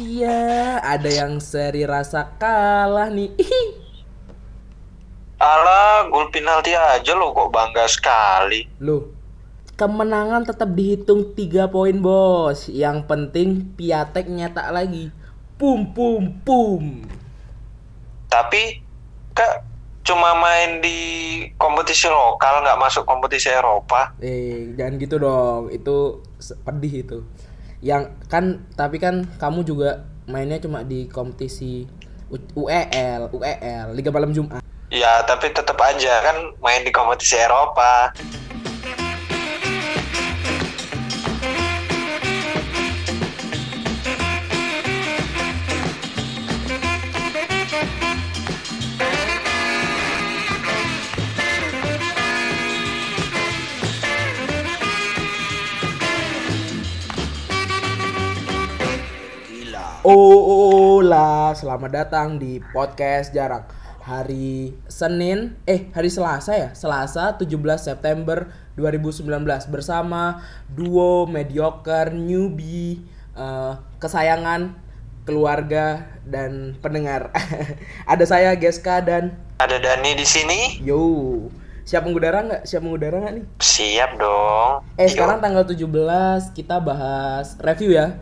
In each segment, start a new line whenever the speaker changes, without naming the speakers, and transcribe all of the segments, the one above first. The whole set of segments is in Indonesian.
Acia, ada yang seri rasa kalah nih. Ihi.
Alah, gol penalti aja lo kok bangga sekali.
Loh, kemenangan tetap dihitung 3 poin, Bos. Yang penting Piatek nyetak lagi. Pum pum pum.
Tapi kak cuma main di kompetisi lokal nggak masuk kompetisi Eropa.
Eh, jangan gitu dong. Itu se- pedih itu. Yang kan tapi kan kamu juga mainnya cuma di kompetisi U- UEL, UEL, Liga Malam Jumat.
Ya, tapi tetap aja kan main di kompetisi Eropa.
Oh, oh, oh, lah, selamat datang di podcast jarak hari Senin, eh hari Selasa ya, Selasa 17 September 2019 bersama duo mediocre newbie eh, kesayangan keluarga dan pendengar. Ada saya Geska dan
Ada Dani di sini?
yo. Siap mengudara nggak? Siap mengudara nggak nih?
Siap dong.
Eh sekarang tanggal 17 kita bahas review ya.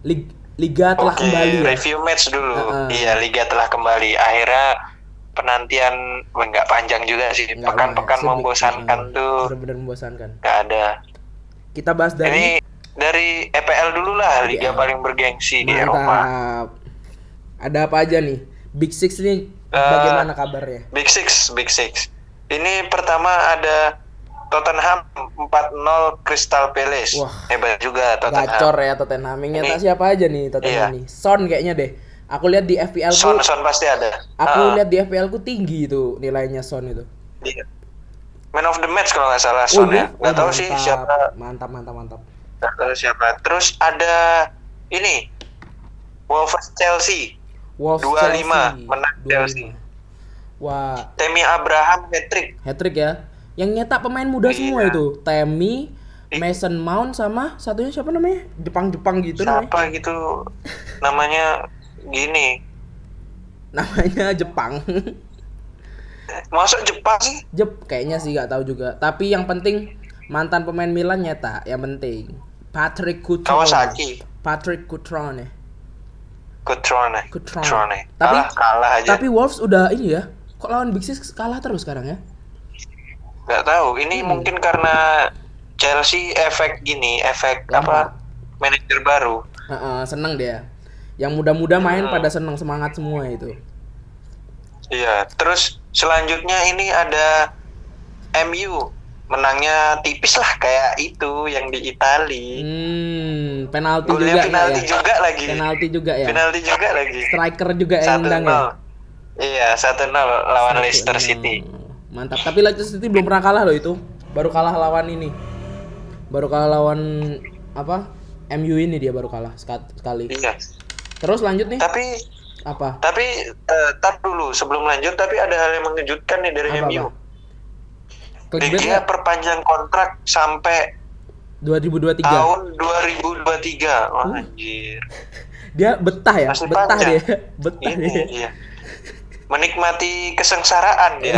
Lig- Liga telah
Oke,
kembali. ya.
review match dulu.
Heeh.
Iya, liga telah kembali. Akhirnya penantian wah, nggak panjang juga sih.
Nggak
Pekan-pekan
lumayan. Sebe-
membosankan
iya,
tuh
Bener-bener membosankan.
nggak ada.
Kita bahas dari
Ini dari EPL dulu lah, liga
EPL.
paling bergengsi di Eropa.
mantap. Ada apa aja nih? Big Six nih
Eh,
bagaimana kabarnya?
Big Six, Big Six. Ini pertama ada Tottenham 4-0 Crystal Palace.
Wah.
Hebat juga Tottenham.
Gacor ya Tottenham. Yang Nyata
Ini-
siapa aja nih Tottenham
Iya.
nih? Son kayaknya deh. Aku lihat di FPL ku,
Son, Son pasti ada.
aku
Ah,
lihat di FPL ku tinggi itu nilainya Son itu.
iya. Man of the match kalau nggak salah Son
iya?
ya. Nggak tahu sih
mantap.
siapa.
Mantap, mantap, mantap.
Nggak tahu siapa. Terus ada ini Wolves Chelsea.
Wolves
25,
Chelsea.
menang
25.
Chelsea.
Wah,
Temi Abraham hat trick.
hat-trick ya. Yang nyetak pemain
Iya.
muda semua itu. Temi, Mason Mount sama satunya siapa namanya? Jepang-Jepang gitu namanya.
Siapa gitu namanya gini.
Namanya Jepang.
Masuk Jepang sih?
Jep kayaknya sih nggak tahu juga. Tapi yang penting mantan pemain Milan nyetak, yang penting. Patrick Cutrone.
Kawasaki.
Patrick ya. Cutrone.
Kutrone.
Cutrone. Tapi
Kalah, kalah aja.
tapi Wolves udah ini ya. Kok lawan Big Six kalah terus sekarang ya?
nggak tahu
Hmm.
ini mungkin karena Chelsea efek gini efek
Lampard.
apa manajer baru
Heeh, seneng dia. Yang muda-muda main pada seneng semangat semua itu.
iya terus selanjutnya ini ada MU menangnya tipis lah kayak itu yang di Itali
Hmm, penalti juga
golnya penalti
ya.
juga lagi
Penalti juga ya.
penalti juga lagi
Striker juga yang
satu
nendang ya.
nol iya satu nol lawan Leicester
Tuh,
City
hmm, Mantap. Tapi Leicester City belum pernah kalah loh itu. Baru kalah lawan ini. Baru kalah lawan apa? MU ini dia baru kalah sekat- sekali.
iya
Terus lanjut nih
tapi
apa?
tapi eh, tar dulu sebelum lanjut tapi ada hal yang mengejutkan nih dari
Apa,
MU
apa?
Dia
Clickbait nggak?
perpanjang kontrak sampai
2023.
tahun
Uh.
2023 Wah, anjir
Dia betah ya,
Masih
betah
panjang.
dia. Betah
ini
dia.
iya menikmati kesengsaraan ya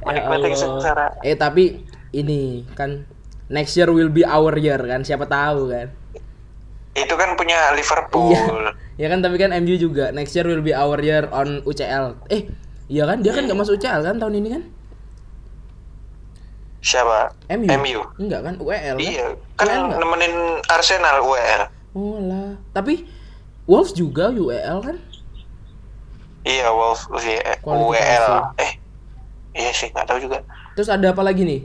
Ya
menikmati
Allah.
kesengsaraan
Eh tapi ini kan next year will be our year kan, siapa tahu kan.
itu kan punya Liverpool
Iya. Ya kan tapi kan MU juga next year will be our year on UCL. Eh, iya kan dia kan nggak masuk UCL kan tahun ini kan?
siapa
MU.
MU.
Enggak kan UEL kan?
iya
UEL
kan
nggak?
nemenin Arsenal UEL
Oh lah. Tapi Wolves juga UEL kan?
iya Wolf UEL
Kualifikasi.
eh iya sih nggak tahu juga
Terus ada apa lagi nih?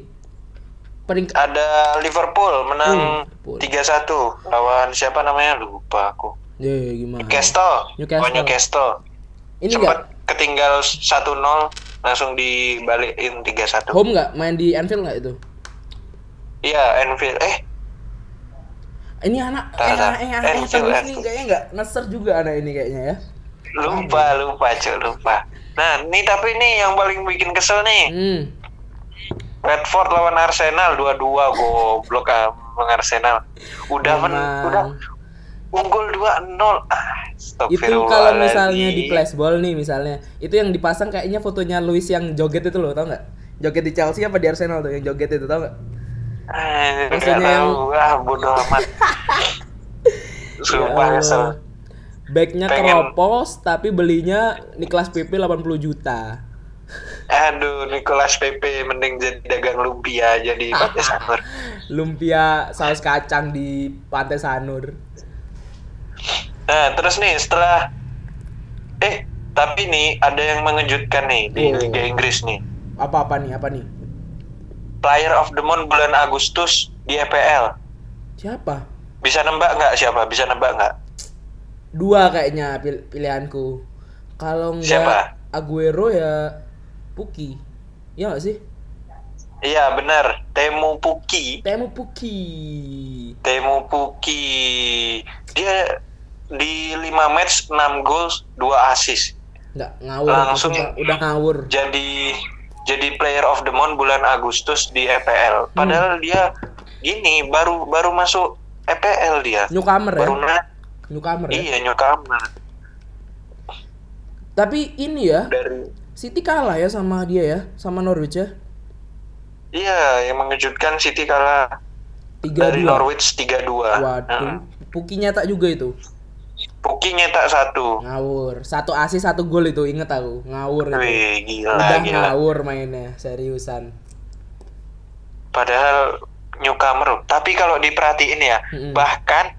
Peringkat
ada Liverpool menang
Hmm. Liverpool.
3-1 lawan siapa namanya lupa aku
ya, ya, gimana?
Newcastle
Newcastle.
Oh, Newcastle
Ini enggak
sempat ketinggal 1-0 langsung dibalikin 3-1
home enggak main di Anfield enggak itu?
iya Anfield eh
Ini anak eh,
Tar, tar.
anak- eh, anak
Eh,
yang terus
Anfield,
nih
Anfield.
kayaknya enggak ngeser juga anak ini kayaknya ya.
lupa lupa cuy lupa nah ini tapi ini yang paling bikin kesel nih
Hmm.
Redford lawan Arsenal 2-2 goblok ah, emang Arsenal udah men,
Emang.
udah unggul 2-0. Ah,
itu kalau misalnya di flashball nih misalnya itu yang dipasang kayaknya fotonya Luis yang joget itu loh tau nggak joget di Chelsea apa di Arsenal tuh yang joget itu tau nggak
Eh,
Maksudnya
nggak
yang-
tahu. Ah, bodoh amat. Sumpah
Ya,
kesel.
backnya
Pengen-
keropos tapi belinya Niklas PP 80 juta
Aduh, Nicolas Pepe mending jadi dagang lumpia jadi pakai sanur.
lumpia saus kacang di Pantai Sanur
Nah, terus nih setelah eh tapi nih ada yang mengejutkan nih di
Oh.
Liga Inggris nih.
apa apa nih apa nih
Player of the Month bulan Agustus di EPL.
siapa
Bisa nembak nggak siapa? Bisa nembak nggak?
dua kayaknya pil- pilihanku kalau
Siapa?
nggak Aguero ya Puki ya nggak sih
Iya benar, Temu Puki.
Temu Puki
Temu Puki. Dia di 5 match 6 gol, 2 assist.
nggak ngawur
Langsung
udah,
ya.
udah ngawur
Jadi jadi player of the month bulan Agustus di EPL.
Hmm.
Padahal dia gini baru baru masuk EPL dia.
newcomer ya
Baru na-
newcomer ya
iya newcomer
tapi ini ya
dari
City kalah ya sama dia ya sama Norwich ya
Iya, yang mengejutkan City kalah
tiga
dari
dua
Norwich 3-2. Nah,
waduh Puki nyetak juga itu
Puki nyetak satu.
ngawur satu asis satu gol itu inget aku ngawur itu
Wih, gila,
udah
gila.
ngawur mainnya seriusan
Padahal newcomer. Tapi kalau diperhatiin ya,
Mm-mm.
bahkan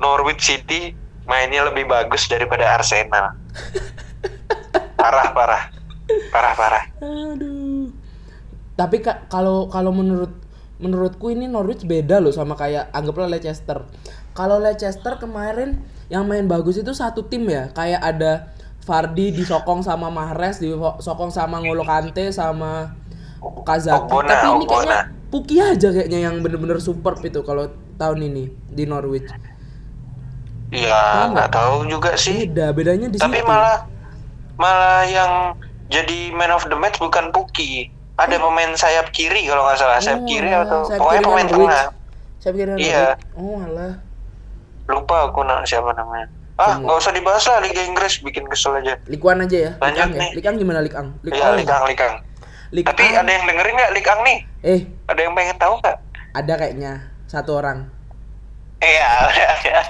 Norwich City mainnya lebih bagus daripada Arsenal. parah, parah. Parah, parah.
Aduh. Tapi ka- kalau kalau menurut menurutku ini Norwich beda loh sama kayak anggaplah Leicester. Kalau Leicester kemarin yang main bagus itu satu tim ya, kayak ada Fardi disokong sama Mahrez, disokong sama Ngolo Kante sama Kazaki.
Ogbonna,
Tapi ini kayaknya
Ogbonna.
Puki aja kayaknya yang bener-bener superb itu kalau tahun ini di Norwich.
Iya, nggak tahu juga sih.
Beda, bedanya Iya, di
Tapi
situ.
malah malah yang jadi man of the match bukan Puki. Ada pemain sayap kiri kalau nggak salah, sayap
Oh,
kiri
alah,
atau
sayap kiri
pokoknya
kan
pemain
Norwich.
tengah.
Saya pikir
Iya.
Norwich. Oh, alah.
Lupa aku nak siapa namanya. Ah,
Tunggu.
nggak usah dibahas lah Liga Inggris, bikin kesel aja.
Likuan aja ya.
Lanjut
Likang ya.
nih.
Likang gimana Likang?
Iya, Likang, Likang.
Lik
Tapi
Ang.
ada yang dengerin nggak Likang nih?
Eh,
Ada yang pengen tahu nggak?
ada kayaknya satu orang.
Iya, ya.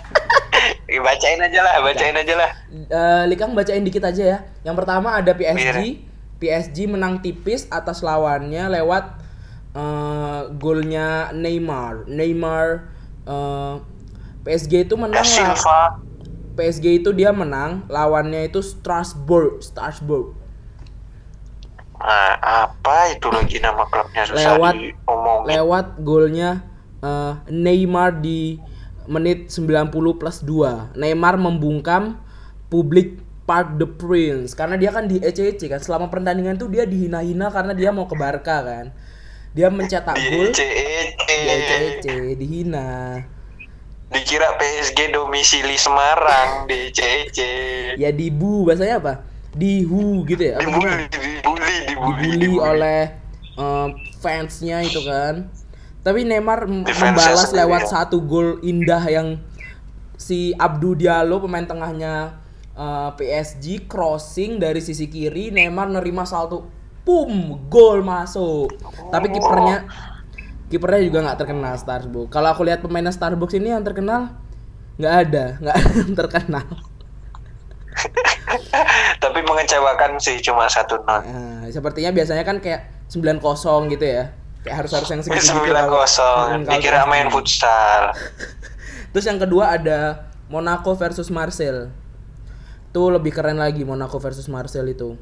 bacain aja lah, bacain aja lah.
Eh, Likang bacain dikit aja ya. Yang pertama ada PSG.
Iya.
PSG menang tipis atas lawannya lewat eh, golnya Neymar. Neymar eh, PSG itu
Da
menang lah.
Silva,
PSG itu dia menang lawannya itu Strasbourg, Strasbourg.
nah, apa itu lagi nama klubnya susah
Lewat-
diomongin.
Lewat golnya eh, Neymar di menit 90 plus 2. Neymar membungkam publik Park the Prince karena dia kan di ECC kan selama pertandingan tuh dia dihina-hina karena dia mau ke Barca kan. Dia mencetak
Di E
gol di E
ECE,
ECC dihina.
dikira PSG domisili Semarang, di E ECE.
Ya dibu bahasanya apa? Dihu gitu ya. apa gimana?
Dibully, dibully, dibully,
dibully
dibully.
oleh eh, fansnya itu kan tapi Neymar m-
Defense-nya
membalas
sendiri
lewat
ya.
satu gol indah yang si Abdu Diallo pemain tengahnya eh, PSG crossing dari sisi kiri Neymar nerima salto pum gol masuk
Oh.
tapi kipernya kipernya juga nggak terkenal Starbucks kalau aku lihat pemainnya Starbucks ini yang terkenal nggak ada nggak ada yang terkenal
Tapi mengecewakan sih cuma satu nol.
Nah, sepertinya biasanya kan kayak 9-0 gitu ya. Kayak harus harus yang segitu gitu.
Sembilan kosong, dikira main futsal.
Terus yang kedua ada Monaco versus Marseille. Tuh lebih keren lagi Monaco versus Marseille itu.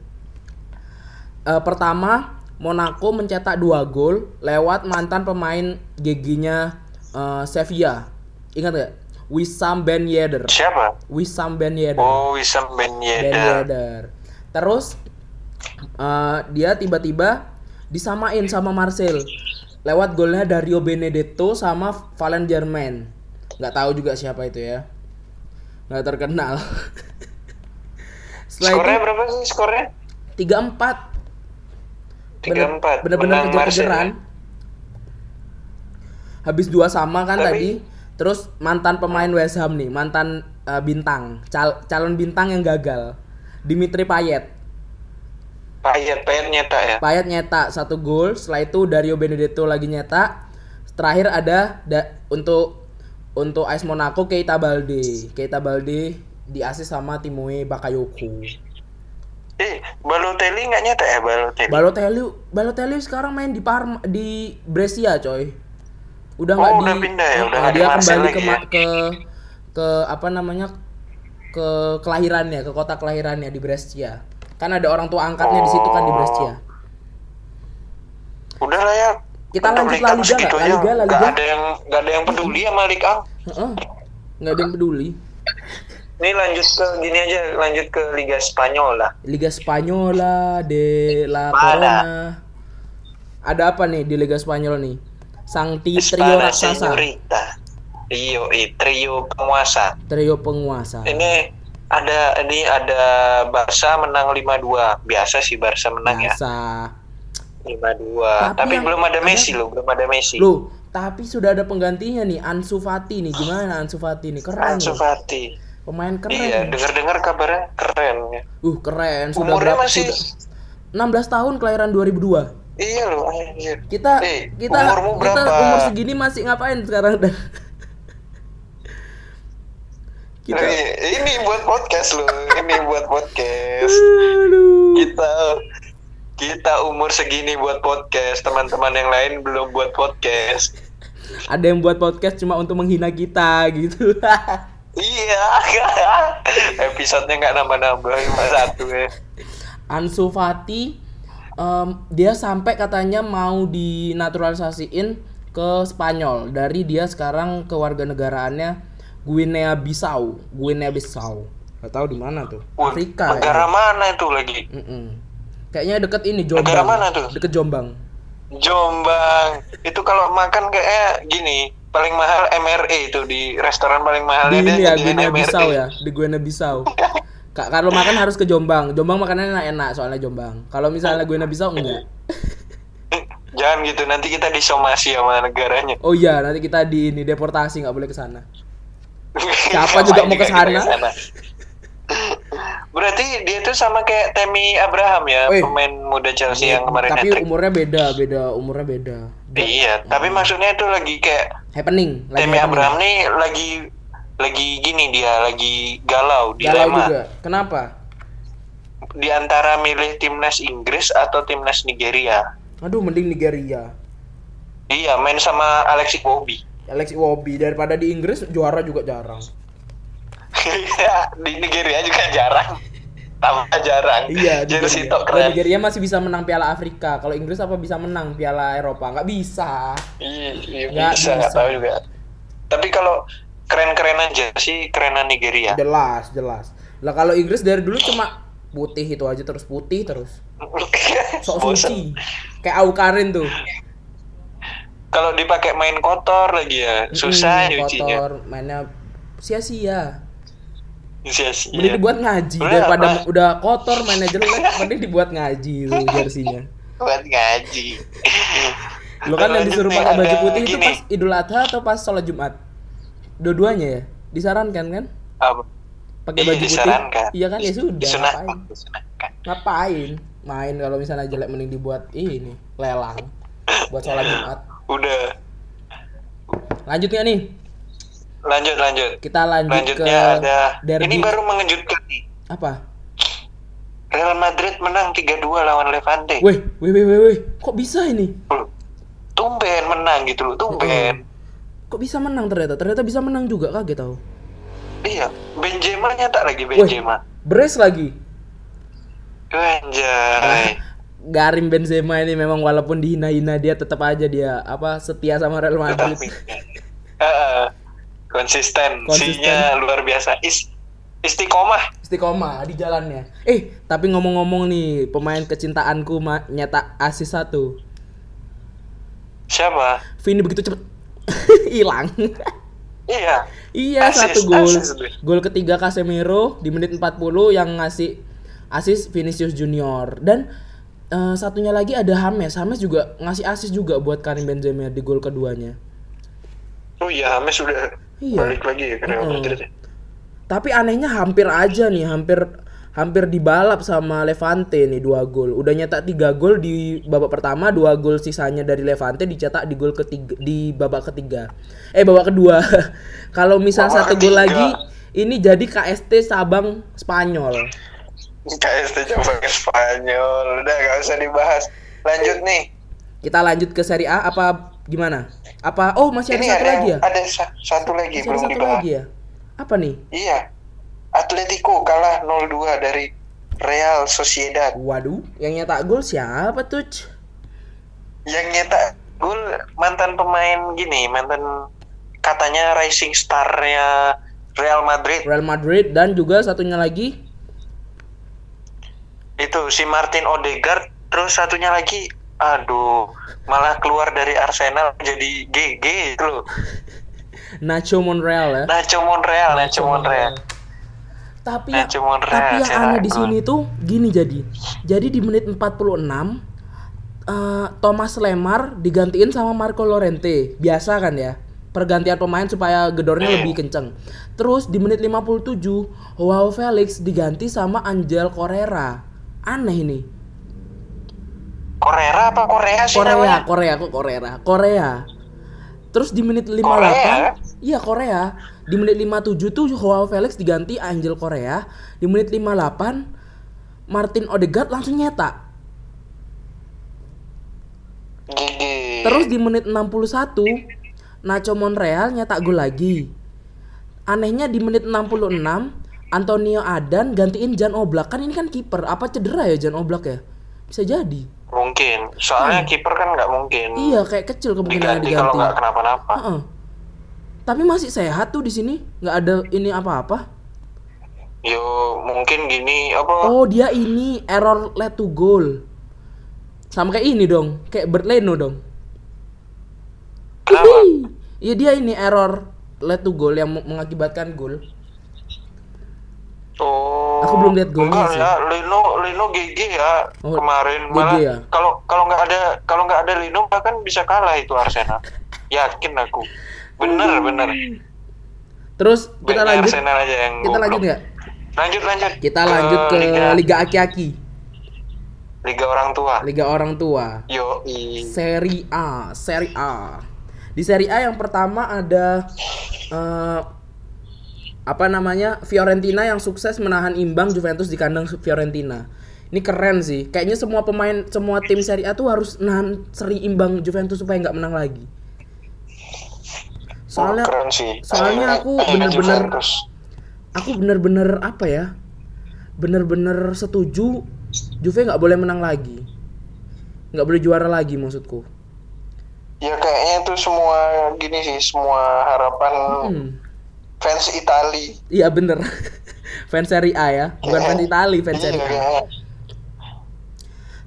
Eh, pertama, Monaco mencetak dua gol lewat mantan pemain GG-nya eh, Sevilla. Ingat gak? Wissam Ben Yedder.
Siapa?
Wissam Ben Yedder.
Oh, Wissam Ben
Iya. Ben
Yedder.
Yedder. Terus eh, dia tiba-tiba disamain sama Marcel lewat golnya Dario Benedetto sama Valen Germain. Nggak tahu juga siapa itu ya. Nggak terkenal.
Skornya
Setelah itu
berapa sih skornya?
3-4
Tiga empat. ya?
bener-bener
Menang Marseille.
kejar-kejaran habis dua sama kan
Tapi-
tadi Terus mantan pemain West Ham nih, mantan eh, bintang, cal- calon bintang yang gagal. Dimitri Payet.
Payet Payet nyetak ya
Payet nyetak satu gol, setelah itu Dario Benedetto lagi nyetak. Terakhir ada da- untuk untuk AS Monaco Keita Balde. Keita Balde diasis sama Timoe Bakayoko.
eh Balotelli nggak nyetak ya Balotelli
Balotelli Balotelli sekarang main di Parma di Brescia, coy. Udah
Oh,
nggak di
udah pindah ya?
Ah,
Udah nggak di
dia
Marseille
kembali
lagi
ke ma-
ya?
ke ke apa namanya? ke kelahirannya, ke kota kelahirannya di Brescia. Kan ada orang tua angkatnya di situ
Oh.
kan di Brescia.
udah lah ya
Kita
Untuk
lanjut
Liga
La Liga nggak?
segitu
La
aja.
Liga, La
Nggak
Liga.
ada yang nggak ada yang peduli sama Liga Ang.
Heeh. Nggak ada yang peduli.
ini lanjut ke gini aja lanjut ke Liga Spanyol lah
Liga Spanyola de la
Mana?
Corona. Ada apa nih di Liga Spanyol nih? Sang Ti Trio
Espada
Raksasa,
Senorita Rio Trio penguasa
Trio Penguasa.
ini ada ini ada Barca menang 5-2 biasa sih Barca menang ya
Biasa.
5-2
Tapi
tapi,
yang-
belum ada
ada-
Messi loh belum ada Messi
Loh, tapi sudah ada penggantinya nih, Ansu Fati nih. Gimana Ansu Fati nih? Keren.
Ansu
loh.
Fati
Pemain keren.
iya dengar-dengar kabarnya keren ya
Uh, keren. Sudah
umurnya
berapa-
masih
sudah 16 tahun kelahiran 2002.
iya loh anjir
Kita
Eh,
kita
umurmu
kita
berapa?
umur segini masih ngapain sekarang? kita
Ini- ini buat podcast loh ini buat podcast
aduh.
kita kita umur segini buat podcast teman-teman yang lain belum buat podcast
Ada yang buat podcast cuma untuk menghina kita gitu.
iya episodenya nggak nambah-nambah cuma satu ya
Ansu Fati em, dia sampai katanya mau dinaturalisasiin ke Spanyol dari dia sekarang kewarganegaraannya Guinea Bissau Guinea Bissau nggak tahu di mana tuh
Wah,
Afrika
negara
ya.
mana itu lagi
Mm-mm. kayaknya deket ini Jombang
Negara mana tuh?
deket Jombang
Jombang itu kalau makan kayak eh, gini paling mahal MRE itu di restoran paling mahal
di
ada
ini ya
jadian
Guinea
MRE.
Bissau ya di Guinea Bissau Kak, kalau makan harus ke Jombang. Jombang makanannya enak-enak soalnya Jombang. Kalau misalnya Guinea Bissau enggak.
jangan gitu nanti kita disomasi sama negaranya
Oh iya, nanti kita di ini deportasi nggak boleh ke sana. Siapa
Sama
juga mau ke
kita
sana?
kesana. Berarti dia tuh sama kayak Temi Abraham ya,
Wih.
pemain muda Chelsea yang kemarin
tapi um,
hat-trick.
umurnya beda beda umurnya beda
Iya, tapi maksudnya itu lagi kayak
happening um, lagi
Temi
happening.
Abraham nih lagi lagi gini dia lagi
galau
galau dilema
juga kenapa
di antara milih timnas Inggris atau timnas Nigeria.
aduh mending Nigeria
Iya, main sama Alexi Bobby.
Alex Iwobi daripada di Inggris juara juga jarang
Iya, di Nigeria juga jarang. Tambah jarang.
iya
jersey
Nigeria.
tok
Kalau
keren.
Nigeria masih bisa menang Piala Afrika kalau Inggris apa bisa menang Piala Eropa nggak bisa
Iya, iya,
Nggak
bisa nggak
bisa.
tahu juga. Tapi kalau keren-kerenan aja sih kerenan Nigeria.
jelas jelas lah kalau Inggris dari dulu cuma putih itu aja terus putih terus Iya. sok
Bosen.
suci kayak Aukarin tuh
Kalau dipakai main kotor lagi ya, susah
Mm-mm,
nyucinya.
kotor mainnya sia-sia
Sia-sia.
Mending dibuat ngaji
Udah,
daripada
Iya. apa?
udah kotor mainnya jelek, mending dibuat ngaji lu jersinya.
buat ngaji.
Lu kan yang
Lanjut
disuruh
nih,
pakai baju
ada
putih itu
gini.
pas Idul Adha atau pas sholat Jumat? Dua-duanya ya? Disarankan kan?
Apa?
Pakai
Iya,
baju putih.
disarankan.
Iya kan ya sudah.
Disunahkan,
Ngapain?
disunahkan.
Ngapain? Main kalau misalnya jelek mending dibuat ini lelang buat sholat Jumat.
Udah.
Lanjut nggak nih?
Lanjut lanjut.
Kita lanjut ke
Lanjutnya ada ini
derby
baru mengejutkan nih.
apa?
Real Madrid menang 3-2 lawan Levante.
Weh, weh, weh, weh, weh. Kok bisa ini?
Loh, Tumben menang gitu loh, tumben.
Kok bisa menang ternyata? Ternyata bisa menang juga kaget tahu.
Iya, Benzema tak lagi Benzema.
Brace lagi.
Anjay.
Garim Benzema ini memang walaupun dihina-hina dia tetap aja dia apa setia sama Real Ah, Madrid.
Tapi Heeh. konsisten,
Konsisten.
sinya luar biasa. Is istiqomah.
Istiqomah di jalannya. Eh, tapi ngomong-ngomong nih, pemain kecintaanku ma- nyetak asis satu.
Siapa?
Vini begitu cepet hilang.
Iya.
iya, satu
Assist,
gol.
assist.
Gol ketiga Casemiro di menit 40 yang ngasih asis Vinicius Junior dan eh, satunya lagi ada Hames. Hames juga ngasih asis juga buat Karim Benzema di gol keduanya.
Oh iya, Hames udah
Iya.
balik lagi ya ke Real
Mm-mm.
Madrid ya.
Tapi anehnya hampir aja nih, hampir hampir dibalap sama Levante nih dua gol. Udah nyetak tiga gol di babak pertama, dua gol sisanya dari Levante dicetak di gol ketiga di babak ketiga. Eh babak kedua. Kalau misal
Babak
satu gol
ketiga.
lagi, ini jadi KST Sabang Spanyol.
KST coba ke Spanyol. Udah gak usah dibahas. Lanjut nih.
Kita lanjut ke Serie A apa gimana? Apa oh masih ada
Ini
satu
ada
lagi ya?
ada sa- satu lagi
Masih ada
belum
satu
dibahas.
lagi ya? Apa nih?
Iya. Atletico kalah 0-2 dari Real Sociedad.
Waduh, yang nyetak gol siapa tuh?
Yang nyetak gol mantan pemain gini, mantan katanya rising star-nya Real Madrid.
Real Madrid dan juga satunya lagi
Itu si Martin Odegaard, terus satunya lagi aduh, malah keluar dari Arsenal jadi GG itu loh.
Nacho Monreal ya.
Nacho Monreal, Nacho Monreal.
Tapi ya,
Nah, cuma Real
tapi yang
cetak
aneh di
gol.
sini tuh gini jadi. Jadi di menit 46 eh, Thomas Lemar digantiin sama Marco Lorente. Biasa kan ya? Pergantian pemain supaya gedornya
Iya.
lebih kenceng. Terus di menit 57 Joao Felix diganti sama Angel Correa. Aneh ini.
Korea apa Korea sih namanya?
Korea, Korea, kok Korea, Korea. Terus di menit 58,
Korea?
iya Korea. Di menit 57 tuh Joao Felix diganti Angel Korea. Di menit 58 Martin Odegaard langsung nyetak.
Gigi.
Terus di menit 61 Nacho Monreal nyetak gol lagi. Anehnya di menit 66 Antonio Adan gantiin Jan Oblak. Kan ini kan kiper, apa cedera ya Jan Oblak ya? Bisa jadi.
mungkin. Soalnya kiper kan nggak mungkin.
Hmm. Iya, kayak kecil kemungkinan
diganti kalau
diganti.
nggak kenapa-napa.
Heeh. Tapi masih sehat tuh di sini, nggak ada ini apa-apa.
Yo mungkin gini apa?
Oh dia ini error led to goal. Sama kayak ini dong, kayak Bert Leno dong.
Kenapa?
Ih, Iya dia ini error led to goal yang me- mengakibatkan gol.
Oh.
Aku belum lihat golnya
enggak
sih.
ya, Lino Lino GG ya
Oh, GG
kemarin malah
ya?
kalau kalau nggak ada kalau nggak ada Lino bahkan bisa kalah itu Arsenal. Yakin aku. Bener bener.
Terus Hmm. kita
Bener,
lanjut,
Arsenal aja yang
kita
goblok.
lanjut nggak?
Lanjut lanjut.
Kita lanjut ke
Liga,
Liga Aki-Aki,
Liga orang tua.
Liga orang tua.
Yo
Seri A, Seri A. Di Seri A yang pertama ada eh, apa namanya Fiorentina yang sukses menahan imbang Juventus di kandang Fiorentina. Ini keren sih. Kayaknya semua pemain, semua tim Serie A tuh harus nahan seri imbang Juventus supaya nggak menang lagi. Soalnya
keren sih.
soalnya aku
Liga
bener-bener-
Juventus.
aku bener-bener apa ya? Bener-bener setuju Juve nggak boleh menang lagi. Nggak boleh juara lagi maksudku.
Ya kayaknya itu semua gini sih, semua harapan
Hmm.
fans Itali.
Iya bener Fans Serie A ya Bukan
Iya.
fans Itali Fans
Iya,
Serie A
kayaknya.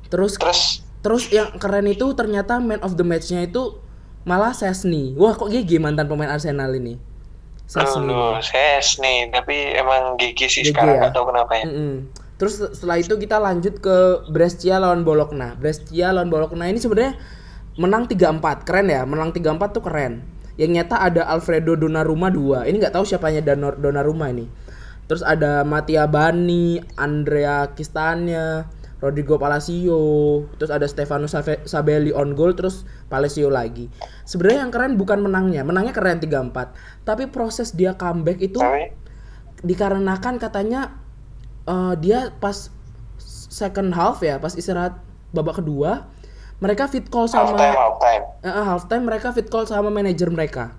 Terus
Terus
Terus yang keren itu Ternyata man of the match-nya itu Malah Sesni Wah kok gigi mantan pemain Arsenal ini Sesni
dulu ses nih, tapi emang gigi sih
Gigi ya?
sekarang nggak tahu kenapa ya.
Mm-mm. Terus setelah itu kita lanjut ke Brescia lawan Bologna. Brescia lawan Bologna ini sebenarnya menang 3-4. Keren ya, menang 3-4 tuh keren. Yang nyata ada Alfredo Donnarumma 2. Ini nggak tahu siapanya Danor- Donnarumma ini. Terus ada Mattia Bani, Andrea Kistania, Rodrigo Palacio, terus ada Stefano Save- Sabelli on goal, terus Palacio lagi. Sebenarnya yang keren bukan menangnya, menangnya keren 3-4. Tapi proses dia comeback itu
Tapi
dikarenakan katanya eh, dia pas second half ya pas istirahat babak kedua mereka fit call
half
sama
time, half time.
eh, eh, half time mereka fit call sama manajer mereka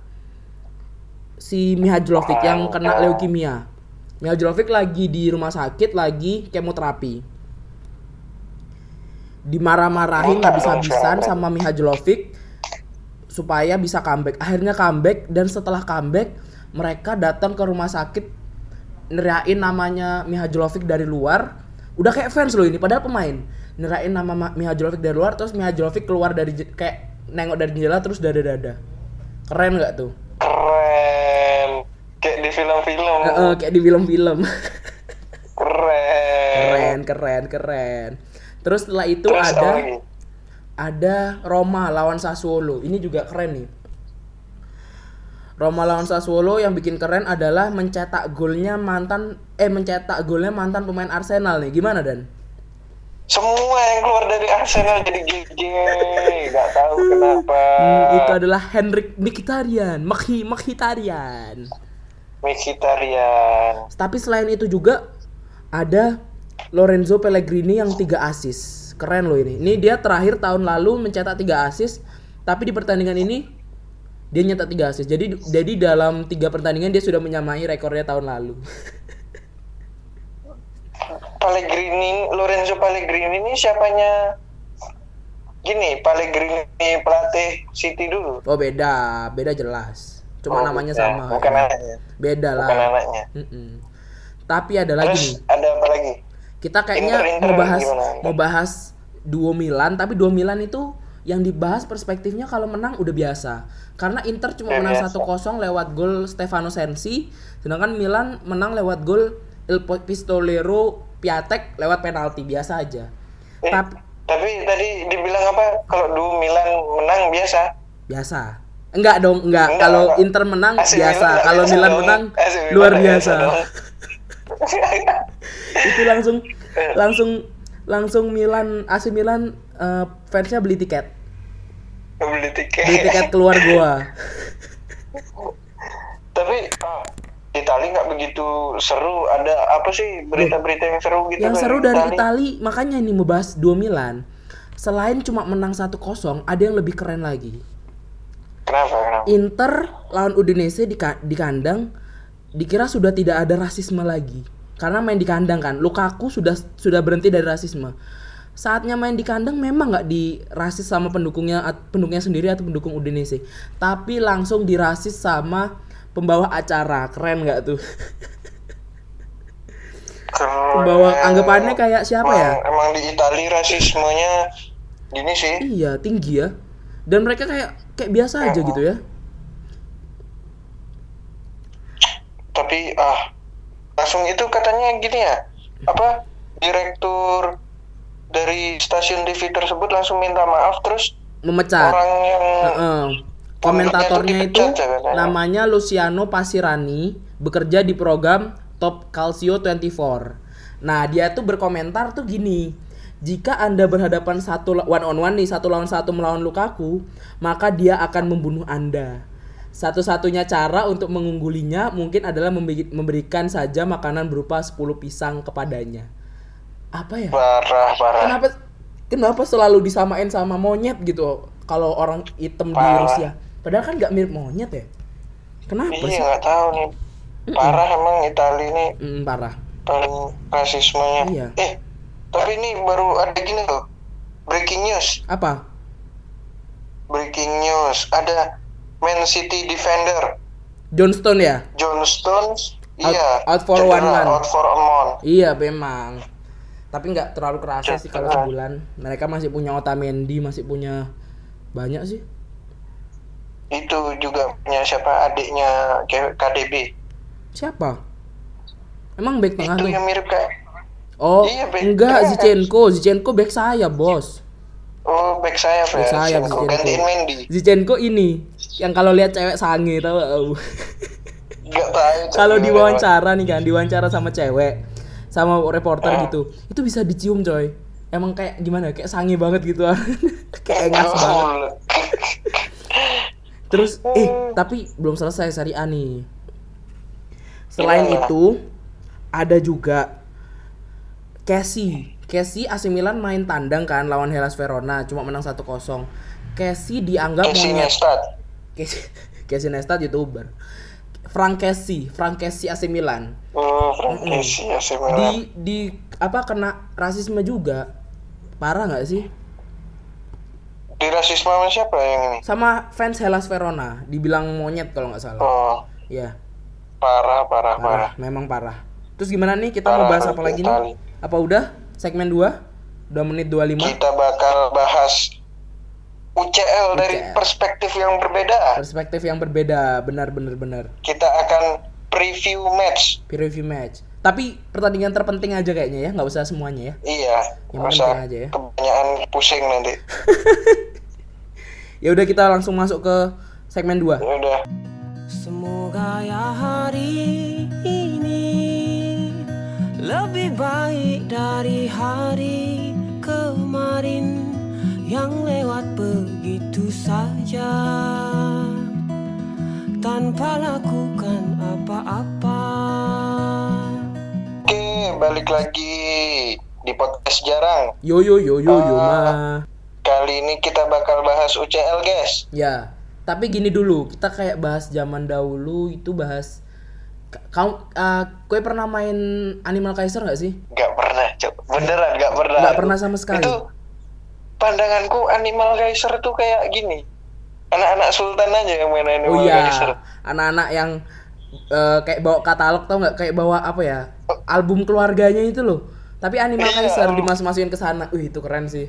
si Mihajlovic yang
Ah.
kena leukemia Mihajlovic lagi di rumah sakit lagi kemoterapi dimarah-marahin habis-habisan sama Mihajlovic supaya bisa comeback. Akhirnya comeback dan setelah comeback mereka datang ke rumah sakit nerain namanya Mihajlovic dari luar. Udah kayak fans loh ini padahal pemain. Nerain nama Ma- Mihajlovic dari luar terus Mihajlovic keluar dari je- kayak nengok dari jendela terus dada-dada. Keren nggak tuh?
Keren, kayak di film-film.
Eh, eh, kayak di film-film.
Keren.
keren, keren, keren. Terus setelah itu
Terus oh, iya.
ada
apa lagi?
ada Roma lawan Sassuolo. Ini juga keren nih. Roma lawan Sassuolo yang bikin keren adalah mencetak golnya mantan eh mencetak golnya mantan pemain Arsenal nih. Gimana Dan?
Semua yang keluar dari Arsenal jadi GG, nggak tahu kenapa.
Hmm, itu adalah Henrik Mkhitaryan, Mkhi Mkhitaryan.
Mkhitaryan.
Tapi selain itu juga ada Lorenzo Pellegrini yang tiga asis. Keren loh ini. Ini dia terakhir tahun lalu mencetak tiga asis, tapi di pertandingan ini dia nyetak tiga asis. Jadi jadi dalam tiga pertandingan dia sudah menyamai rekornya tahun lalu.
Pellegrini, Lorenzo Pellegrini ini siapanya? Gini, Pellegrini pelatih City dulu.
Oh beda, beda jelas. Cuma
Oh,
namanya
bukan.
sama.
Bukan
ya.
anaknya.
Beda lah.
Bukan anaknya.
Mm-mm. Tapi ada lagi
Terus
nih.
ada apa lagi?
Kita kayaknya
Inter- Inter
mau bahas
gimana?
mau bahas duo Milan, tapi duo Milan itu yang dibahas perspektifnya kalau menang udah biasa. Karena Inter cuma
Udah
menang
biasa.
1-0 lewat gol Stefano Sensi, sedangkan Milan menang lewat gol Il Pistolero Piatek lewat penalti biasa aja.
Eh,
Tapi
tapi tadi dibilang apa? Kalau dulu Milan menang biasa.
biasa. Enggak dong, enggak.
Enggak,
Kalau
enggak.
Inter menang
AC
biasa,
nggak
kalau
biasa
Milan
dong.
menang
AC Milan
luar
nggak
biasa.
dong.
itu langsung
Eh.
langsung langsung Milan AC Milan eh, fansnya beli tiket
Beli tiket.
beli tiket keluar gua
Tapi ah, Itali nggak begitu seru. Ada apa sih berita-berita yang seru gitu?
yang seru dari Itali makanya ini membahas dua Milan selain cuma menang 1-0 ada yang lebih keren lagi
Kenapa? Kenapa?
Inter lawan Udinese di, ka- di kandang dikira sudah tidak ada rasisme lagi karena main di kandang kan Lukaku sudah sudah berhenti dari rasisme saatnya main di kandang memang nggak dirasis sama pendukungnya at- pendukungnya sendiri atau pendukung Udinese tapi langsung dirasis sama pembawa acara keren nggak tuh
Keren.
pembawa anggapannya kayak siapa ya
Emang, emang di Itali rasismenya gini sih.
iya tinggi ya dan mereka kayak kayak biasa aja gitu ya
Tapi ah langsung itu katanya gini ya. Apa direktur dari stasiun TV tersebut langsung minta maaf terus
memecat
orang yang
Heeh. komentatornya itu
Pemerintah itu dipecat, ya,
namanya Luciano Pasirani bekerja di program Top Calcio 24. Nah dia tuh berkomentar tuh gini, jika anda berhadapan satu la- one on one nih satu lawan satu melawan Lukaku, maka dia akan membunuh anda. Satu-satunya cara untuk mengunggulinya mungkin adalah membi- memberikan saja makanan berupa 10 pisang kepadanya. Apa ya?
parah parah.
kenapa kenapa selalu disamain sama monyet gitu kalau orang hitam di
Parah.
Rusia padahal kan nggak mirip monyet ya kenapa
Iya
sih
nggak tahu nih. Parah emang Itali ini
Mm, parah
paling rasismenya.
Iya.
Eh tapi ini baru ada gini loh. Breaking news.
apa
Breaking news. Ada Man City defender
Johnstone ya
John Stones.
Out-
iya.
out for
cedera,
one month.
Out for a month.
iya memang tapi nggak terlalu kerasa sih kalau
Jangan.
sebulan mereka masih punya Otamendi masih punya banyak sih
Itu juga punya siapa adiknya K- KDB.
siapa emang back tengah
Itu
tuh
yang mirip kayak
oh
Iya, back
enggak
tengah.
Zinchenko Zinchenko back saya bos
Oh, back sayap
back
ya.
saya
Zinchenko. Gantiin Mendy.
Zinchenko ini yang kalau lihat cewek sange tahu nggak?
Enggak tahu. itu
kalau
gimana.
diwawancara nih kan diwawancara sama cewek sama reporter
Ah.
gitu itu bisa dicium coy emang kayak gimana kayak sangi banget gitu kayak engas
Oh.
banget terus eh
Oh.
tapi belum selesai Sari Ani selain
Gimana?
itu ada juga Casey Casey AC Milan main tandang kan lawan Hellas Verona cuma menang 1-0 Casey dianggap
Casey
monyet
Neistat.
Casey, Casey Neistat youtuber Frank Casey Frank Casey AC Milan
Oh, Frank Casey AC
di
Milan.
di apa kena rasisme juga parah nggak sih
Di rasisme sama siapa yang ini?
sama fans Hellas Verona dibilang monyet kalau nggak salah
Oh,
ya
parah, parah,
parah
parah.
memang parah terus gimana nih kita mau
Parah,
bahas
parah
apa lagi
sekali.
nih apa udah segmen 2 udah menit 25
Kita bakal bahas UCL dari
UCL.
perspektif yang berbeda.
perspektif yang berbeda benar benar benar
Kita akan preview match.
peer review match tapi pertandingan terpenting aja kayaknya ya nggak usah semuanya ya
Iya,
Yang
nggak usah
penting aja ya.
kebanyakan pusing nanti.
ya udah kita langsung masuk ke segmen 2
Ya udah.
Semoga ya hari ini lebih baik dari hari kemarin yang lewat begitu saja tanpa lakukan apa-apa.
Oke, balik lagi di podcast jarang.
Yo yo yo yo yo
Ah.
mah.
Kali ini kita bakal bahas UCL, guys.
Ya, tapi gini dulu, kita kayak bahas zaman dahulu itu bahas Ka- kau eh, kue pernah main Animal Kaiser nggak sih?
Gak pernah, Cok. Beneran gak pernah.
Nggak pernah sama sekali.
Itu pandanganku Animal Kaiser tuh kayak gini. Anak-anak sultan aja yang main
Oh
Animal Kaiser.
iya, anak-anak yang eh, kayak bawa katalog tau nggak? Kayak bawa apa ya? Album keluarganya itu loh. Tapi Animal
Iya,
Kaiser
album.
dimas-masukin ke sana. Wih, itu keren sih.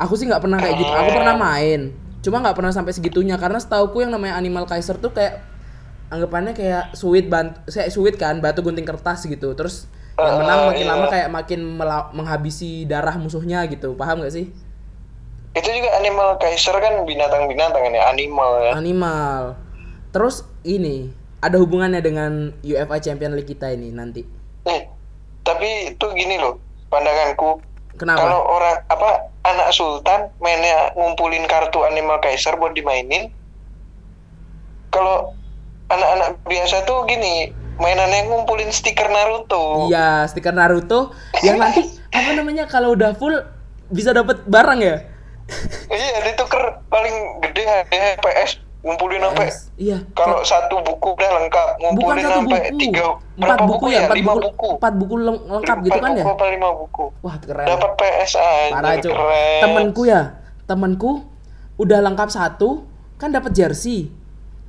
Aku sih nggak pernah kayak gitu.
Ah.
Aku pernah main. Cuma nggak pernah sampai segitunya karena setauku yang namanya Animal Kaiser tuh kayak anggapannya kayak suit ban kayak suit kan, batu gunting kertas gitu. Terus yang
Ah,
menang makin
iya.
lama kayak makin mela- menghabisi darah musuhnya gitu. Paham nggak sih?
Itu juga Animal Kaiser kan binatang-binatang kan ya, animal ya.
Animal. Terus ini ada hubungannya dengan UEFA Champion League kita ini nanti.
Eh, tapi itu gini loh, pandanganku. Kalau
Kenapa?
orang apa anak sultan mainnya ngumpulin kartu Animal Kaiser buat dimainin. Kalau anak-anak biasa tuh gini, mainannya ngumpulin stiker Naruto.
Iya, stiker Naruto yang nanti apa namanya kalau udah full bisa dapat barang ya?
Iya, dituker paling gede HP PS ngumpulin sampai
PS. Iya.
kalau satu buku udah lengkap
bukan
ngumpulin
satu
sampai
buku,
tiga
empat
berapa
buku ya, empat
lima
buku,
buku
empat buku leng- lengkap gitu
Empat
kan ya?
buku apa lima buku
Wah keren.
dapat PS aja
Parah Cuk.
keren
Temenku ya, temenku udah lengkap satu, kan dapat jersey.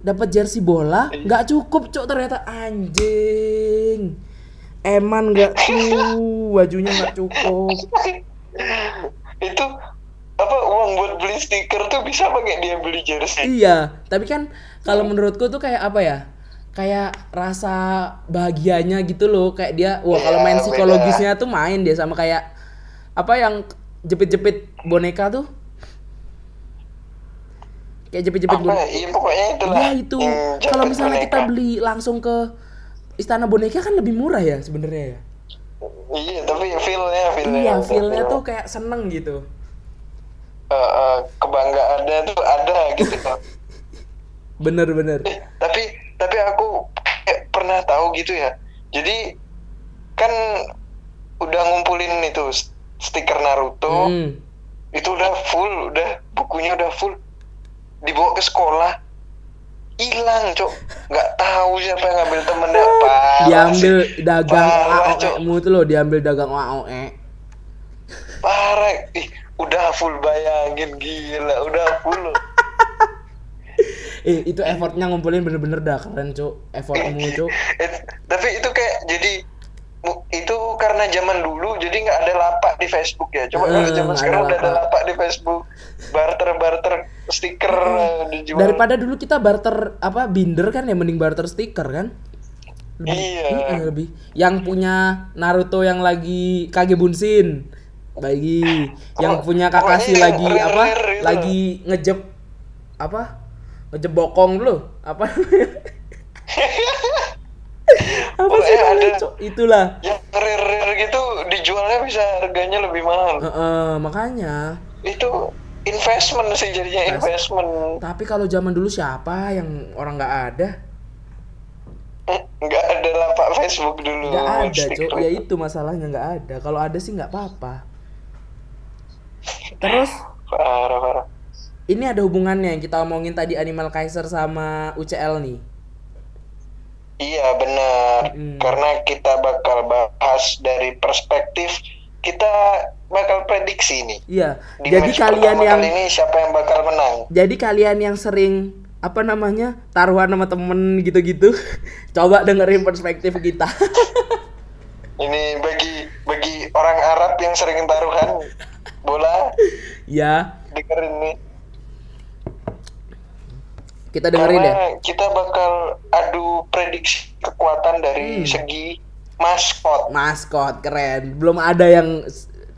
Dapat jersey bola,
Iya.
nggak cukup cok ternyata anjing. Eman nggak tuh, bajunya nggak cukup.
itu apa uang buat beli stiker tuh bisa pakai dia beli jersey
Iya, tapi kan kalau menurutku tuh kayak apa ya? Kayak rasa bahagianya gitu loh, kayak dia wah kalau
Iya,
main
beda.
psikologisnya tuh main dia sama kayak apa yang jepit-jepit boneka tuh. Kayak jepit-jepit
apa
boneka.
iya pokoknya itulah Hmm,
Iya itu.
yang jepit
Kalau misalnya kita
eh, boneka.
beli langsung ke istana boneka kan lebih murah ya sebenarnya ya.
iya tapi feelnya feelnya
Iya, feel-nya tuh kayak seneng gitu.
Eh, eh, kebanggaannya tuh ada gitu
Bener-bener.
Eh, tapi tapi aku kayak pernah tahu gitu ya jadi kan udah ngumpulin itu s- stiker Naruto
Hmm.
itu udah full udah bukunya udah full dibawa ke sekolah hilang cok nggak tahu siapa yang ngambil temennya parah
Diambil
sih.
dagang
parah cok
AOE-mu tuh loh, diambil dagang E. AOE.
parah ih udah full bayangin gila udah full loh.
Eh, itu effortnya ngumpulin bener-bener dah keren, Cuk. Effortmu, Cuk.
It- Eh, tapi itu kayak jadi mu- itu karena zaman dulu jadi nggak ada lapak di Facebook ya coba kalau
Eh,
zaman
nggak ada
sekarang udah ada
lapak.
lapak di Facebook barter barter stiker eh, dijual
Hmm, Daripada dulu kita barter apa binder kan ya mending barter stiker kan?
Iya.
Mm-mm, lebih. Yang punya Naruto yang lagi Kage Bunshin. Bagi yang
Pokok-
punya Kakashi
pokoknya yang
lagi
rare-rare
apa?
gitu.
Lagi ngejep apa? Ngejep bokong dulu. Apa? apa sih
Pokoknya
namanya,
ada-
Cuk? Itulah.
yang rare rare gitu dijualnya bisa harganya lebih mahal
Heeh, makanya
itu investment sih jadinya investment
Tapi kalau zaman dulu siapa yang orang nggak ada?
Eh, nggak ada lapak Facebook dulu
Nggak ada,
stiker.
cok. Ya itu masalahnya nggak ada. Kalau ada sih nggak apa-apa. Terus
parah parah
ini ada hubungannya yang kita omongin tadi Animal Kaiser sama UCL nih.
Iya benar,
Mm-mm.
karena kita bakal bahas dari perspektif kita bakal prediksi nih.
Iya.
Di
jadi
match
kalian
pertama
yang
kali ya. ini siapa yang bakal menang?
jadi kalian yang sering apa namanya taruhan sama temen gitu-gitu, coba dengerin perspektif kita.
Ini bagi bagi orang Arab yang sering taruhan bola
ya,
dengerin nih.
kita dengerin
karena
ya.
kita bakal adu prediksi kekuatan
Hmm.
dari segi maskot.
Maskot keren. Belum ada yang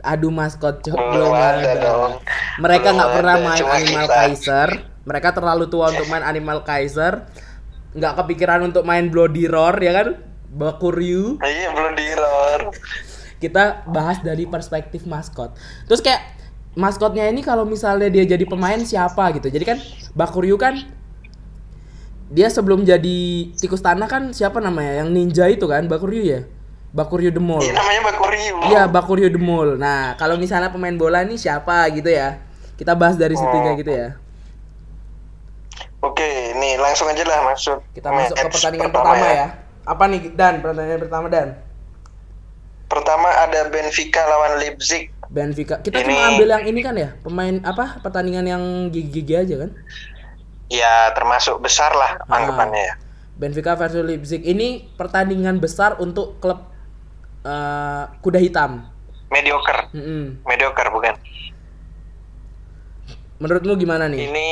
aduh maskot cok. Belum
Belum ada
ada.
dong.
Mereka
Belum
nggak pernah
ada,
main
cuma
Animal
kita.
Kaiser. Mereka terlalu tua untuk main Animal Kaiser. nggak kepikiran untuk main Bloody Roar ya kan? Bakuryu.
Iya belum diror.
Kita bahas dari perspektif maskot. Terus kayak maskotnya ini kalau misalnya dia jadi pemain siapa gitu. Jadi kan Bakuryu kan dia sebelum jadi tikus tanah kan siapa namanya yang ninja itu kan Bakuryu ya? Bakuryu The Mole.
Iya namanya Bakuryu.
Iya Bakuryu The Mole. Nah, kalau misalnya pemain bola nih siapa gitu ya. Kita bahas dari situ kayak gitu ya.
Oke, nih langsung aja lah masuk.
Kita masuk ke
match
pertandingan Oh. pertama ya. Apa nih Dan? Pertandingan pertama Dan.
Pertama ada Benfica lawan Leipzig.
Benfica. Kita
Ini-
cuma ambil yang ini kan ya, pemain apa? Pertandingan yang gigi-gigi aja kan.
Ya termasuk besar lah
Ah.
anggapannya ya.
Benfica versus Leipzig. Ini pertandingan besar untuk klub eh, kuda hitam.
Mediocre.
Mm-mm.
Mediocre bukan.
Menurutmu gimana nih?
Ini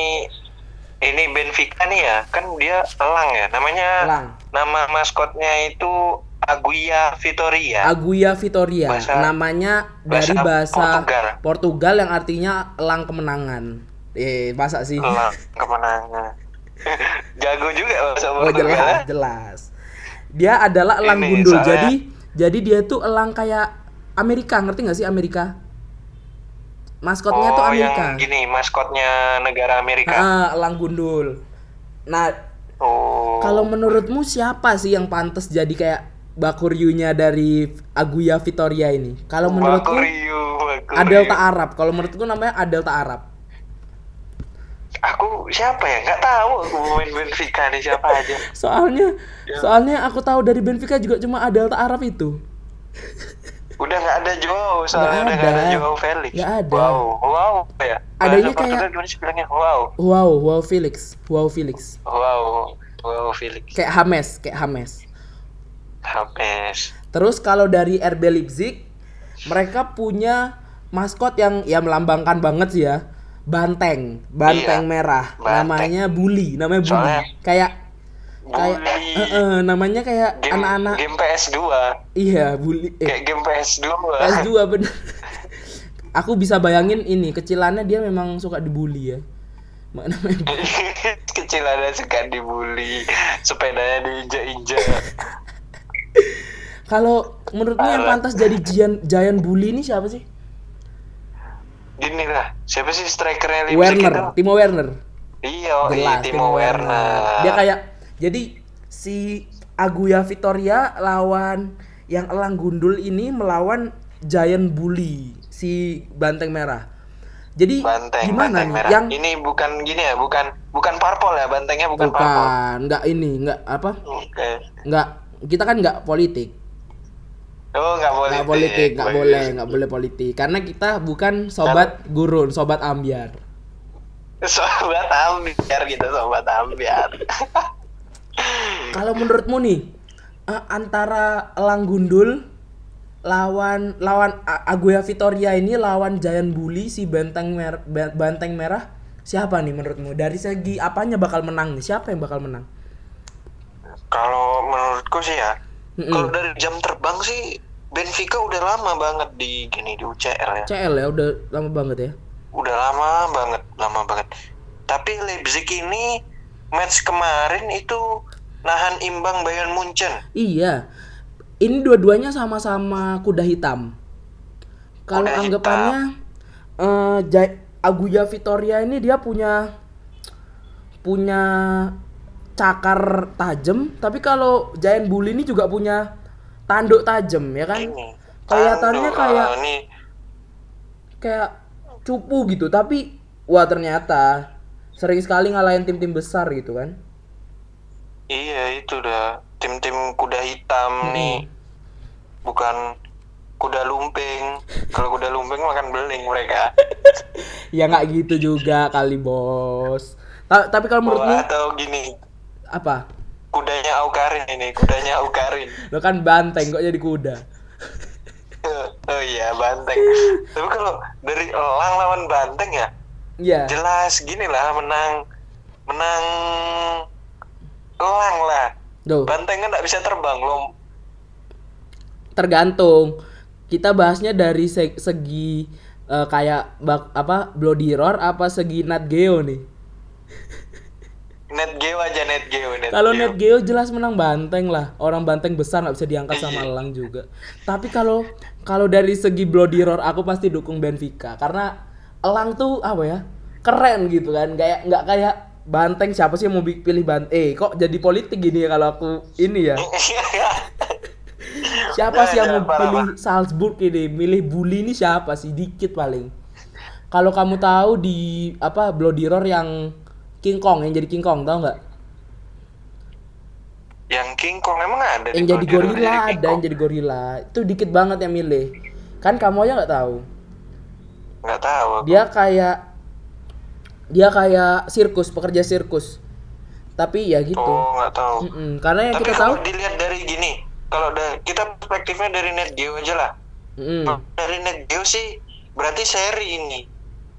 ini Benfica nih ya, kan dia elang ya. Namanya
Elang.
nama maskotnya itu Aguia ya. Vitoria.
Aguia Vitoria.
Iya. Bahasa-
namanya dari
bahasa
bahasa
Portugal.
Portugal. yang artinya elang kemenangan. Eh, masa sih?
elang kemenangan. Jago juga bahasa
Oh
Portugal. ya.
jelas, jelas. Dia adalah elang
iya. Ini,
gundul.
soalnya-
Jadi jadi dia tuh elang kayak Amerika, ngerti nggak sih Amerika? Maskotnya tuh
Oh,
Amerika.
yang gini ya. maskotnya negara Amerika.
Heeh, elang gundul. Nah,
Oh.
kalau menurutmu siapa sih yang pantas jadi kayak Bakuryunya dari Aguya Vitoria ini? Kalau menurutku
Bakuryu, Bakuryu.
Adelta Arab. Kalau menurutku namanya Adelta Arab.
Aku siapa ya? Nggak tahu aku main Benfica nih siapa aja.
Soalnya
Ya.
soalnya aku tahu dari Benfica juga cuma Adelta Arab itu.
Udah nggak ada Joao, soalnya
Nggak
udah nggak ada
ada.
Joao Felix.
Nggak ada.
Wow, wow apa ya. Bahasa
Adanya
Portugal
kayak-
gimana sih bilangnya? Wow,
Wow, wow Felix. Wow Felix.
wow, wow Felix.
Kayak Hames, kayak Hames.
Hames.
Terus kalau dari RB Leipzig, mereka punya maskot yang ya melambangkan banget sih ya. Banteng, banteng
Iya,
merah.
banteng.
Namanya Bully, namanya Bully.
Soalnya-
kayak kayak
Bully.
eh, eh, namanya kayak
Game,
anak-anak
game PS2.
iya Bully. Eh,
Kayak game PS2.
S2 bener. Aku bisa bayangin ini, kecilannya dia memang suka dibully ya. Namanya
Kecil ada suka dibully. Sepedanya diinjak-injak.
Kalau menurutmu yang
Parah.
pantas jadi giant, giant bully ini siapa sih?
Gini lah. Siapa sih strikernya Leipzig itu?
Werner, Timo Werner.
Iya,
Jelas,
iya, Timo Werner.
Dia kan kayak jadi si Aguya Vitoria lawan yang elang gundul ini melawan giant bully si banteng merah. Jadi
banteng,
gimana
banteng
nih
merah.
yang
Ini bukan gini ya, bukan bukan parpol ya, bantengnya bukan, parpol.
bukan Oh, nggak ini nggak apa
Oke.
nggak kita kan nggak politik
Oh, nggak boleh.
nggak politik nggak boleh nggak boleh politik karena kita bukan sobat gurun sobat ambiar
Sobat ambiar gitu, sobat ambiar.
Kalau menurutmu nih eh, antara Elang Gundul lawan lawan A- Aguya Vitoria ini lawan Giant Bully si banteng mer Ba- banteng merah siapa nih menurutmu dari segi apanya bakal menang nih siapa yang bakal menang
Kalau menurutku sih ya,
Mm-mm.
kalau dari jam terbang sih Benfica udah lama banget di gini di UCL ya.
CL ya udah lama banget ya
Udah lama banget, lama banget. Tapi Leipzig ini match kemarin itu nahan imbang Bayern Munchen.
iya ini dua-duanya sama-sama kuda hitam kalau
Kuda hitam.
anggapannya eh, Jai- Aguya Vitoria ini dia punya punya cakar tajam tapi kalau Giant Bully ini juga punya tanduk tajam ya kan
Ini.
kelihatannya
Iya. Tanduk,
kayak
eh, ini
kayak cupu gitu tapi wah ternyata sering sekali ngalahin tim-tim besar gitu kan
Iya itu dah tim-tim kuda hitam
Mm-mm.
nih bukan kuda lumping kalau kuda lumping makan beling mereka
ya nggak gitu juga kali bos Ta- tapi kalau
Oh,
menurutmu
atau gini
apa
kudanya Aukarin ini kudanya Aukarin
lo kan banteng kok jadi kuda
oh iya banteng tapi kalau dari elang lawan banteng ya
iya
jelas gini lah menang menang elang lah
Duh,
banteng kan nggak bisa terbang loh
tergantung. Kita bahasnya dari se- segi eh, kayak bak- apa Bloody Roar apa segi Nat Geo nih.
Net Geo aja Net Geo. Net
Kalau
Geo.
Net Geo jelas menang Banteng lah. Orang Banteng besar nggak bisa diangkat sama Lelang juga. Tapi kalau kalau dari segi bloody roar aku pasti dukung Benfica karena Elang tuh apa ya? Keren gitu kan. Kayak nggak kayak Banteng siapa sih yang mau bi- pilih Banteng? Eh kok jadi politik gini ya kalau aku
Oh,
ini ya? Siapa sih yang
Ya,
mau
parah,
pilih Salzburg ini? Milih bully ini siapa sih? Dikit paling. Kalau kamu tahu di apa bloody roar yang King Kong yang jadi King Kong tahu nggak?
yang King Kong emang ada.
yang
di
jadi
Kojiro,
gorila
King
ada yang
Kong?
jadi gorila itu dikit banget yang milih kan kamu aja nggak tahu
Nggak tahu. aku.
dia kayak dia kayak sirkus pekerja sirkus tapi ya gitu
Oh nggak tahu.
Mm-mm, karena yang
Tapi
kita tahu
kalau dilihat dari gini, kalau da- kita perspektifnya dari Net Geo aja lah.
Mm-mm.
Dari Net Geo sih berarti seri ini.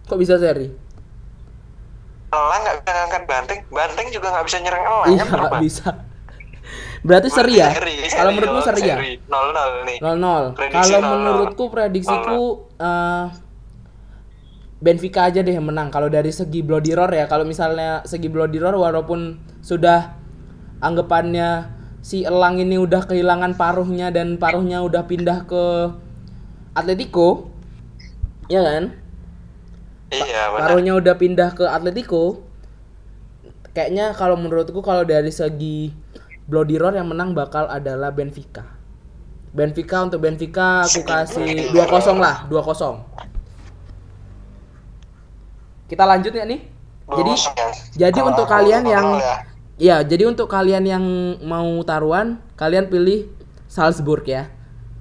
kok bisa seri
Elang nggak bisa ngangkat banteng, banteng juga nggak bisa nyerang elang.
iya
kan, Pak?
nggak bisa berarti seri ya kalau menurutmu seri ya
Nol nol nih.
nol nol
Prediksi
kalau
0-0.
menurutku prediksiku eh, Benfica aja deh yang menang kalau dari segi bloody roar ya kalau misalnya segi bloody roar walaupun sudah anggapannya si Elang ini udah kehilangan paruhnya dan paruhnya udah pindah ke Atletico ya kan
Iya benar.
paruhnya udah pindah ke Atletico kayaknya kalau menurutku kalau dari segi bloody roar yang menang bakal adalah Benfica Benfica untuk Benfica aku kasih 2-0 lah 2-0 kita lanjut ya nih jadi
Lulus ya.
jadi
Kalau
untuk
aku
kalian
nol
yang
ya.
ya jadi untuk kalian yang mau taruhan kalian pilih Salzburg ya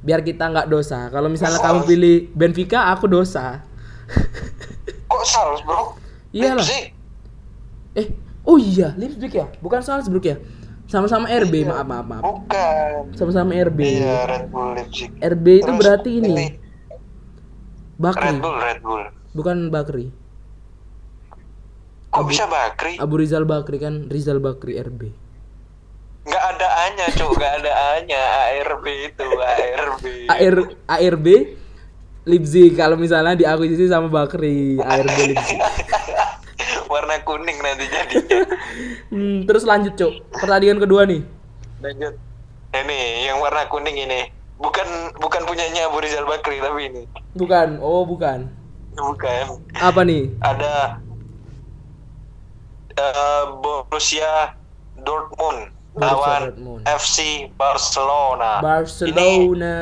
biar kita nggak dosa kalau misalnya kamu pilih Benfica aku dosa Iya
kok Salz bro?
Iyalah.
Leipzig.
Eh, oh iya, Leipzig ya? Bukan Salzburg ya? Sama-sama RB, maaf, maaf, maaf.
Bukan.
Sama-sama RB.
Iya Red Bull Leipzig.
RB itu
Terus
berarti ini,
ini, Red
Bakri,
Bull Red Bull.
bukan Bakri.
Kok bisa Bakri?
Abu Rizal Bakri kan, Rizal Bakri RB.
Nggak ada A-nya, Cuk. Nggak ada A-nya. ARB itu, ARB.
AR ARB Leipzig kalau misalnya diakuisisi sama Bakri, ARB Leipzig.
Warna kuning nanti jadinya.
Hmm, terus lanjut, Cuk. Pertandingan kedua nih.
Lanjut. Ini, yang warna kuning ini. Bukan bukan punyanya Abu Rizal Bakri, tapi ini.
Bukan, oh bukan.
Bukan.
Apa nih?
Ada eh, Borussia Dortmund
Borussia
lawan
Dortmund.
FC Barcelona. Ini
Barcelona.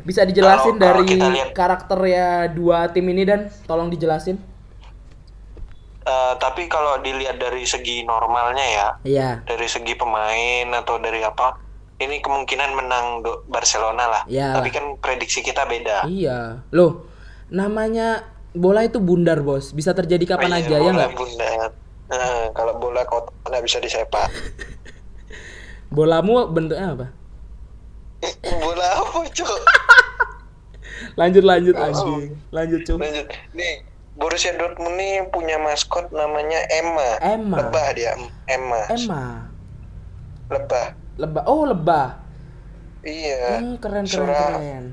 Bisa dijelasin
Kalau- kalau
dari
kita lihat-
karakternya dua tim ini dan tolong dijelasin.
Eh, tapi kalau dilihat dari segi normalnya ya,
Iya,
dari segi pemain atau dari apa, ini kemungkinan menang Do- Barcelona lah.
Iya.
Tapi kan prediksi kita beda.
iya. Loh, namanya bola itu bundar, Bos. Bisa terjadi kapan
Iya,
aja ya
bola
nggak?
bundar. Eh, kalau bola kotak nggak bisa disepak.
Bolamu bentuknya apa?
Eh, bola apa cuk?
Lanjut lanjut anjing. Lanjut, Cuk.
Lanjut. Nih, Borussia Dortmund nih punya maskot namanya Emma.
Emma.
Lebah dia, Emma.
Emma.
Lebah.
Lebah. Oh, lebah.
Iya.
Hmm, keren keren
surah-
keren.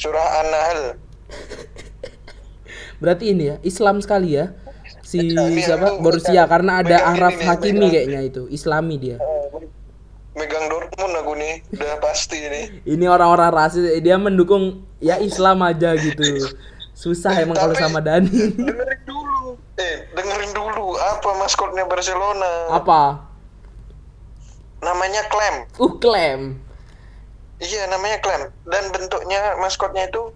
Surah An-Nahl.
Berarti ini ya, Islam sekali ya. Si
Iya, iya,
siapa?
itu
Borussia
bukan-
karena ada
bukan
Araf
ini nih,
Hakimi
bukan.
kayaknya itu, Islami dia.
megang Dortmund aku nih udah pasti nih
ini orang-orang rasis dia mendukung ya Islam aja gitu susah emang kalau
Tapi-
sama Dani
dengerin dulu eh dengerin dulu apa maskotnya Barcelona
apa
namanya Clem
uh klaim
iya namanya Clem dan bentuknya maskotnya itu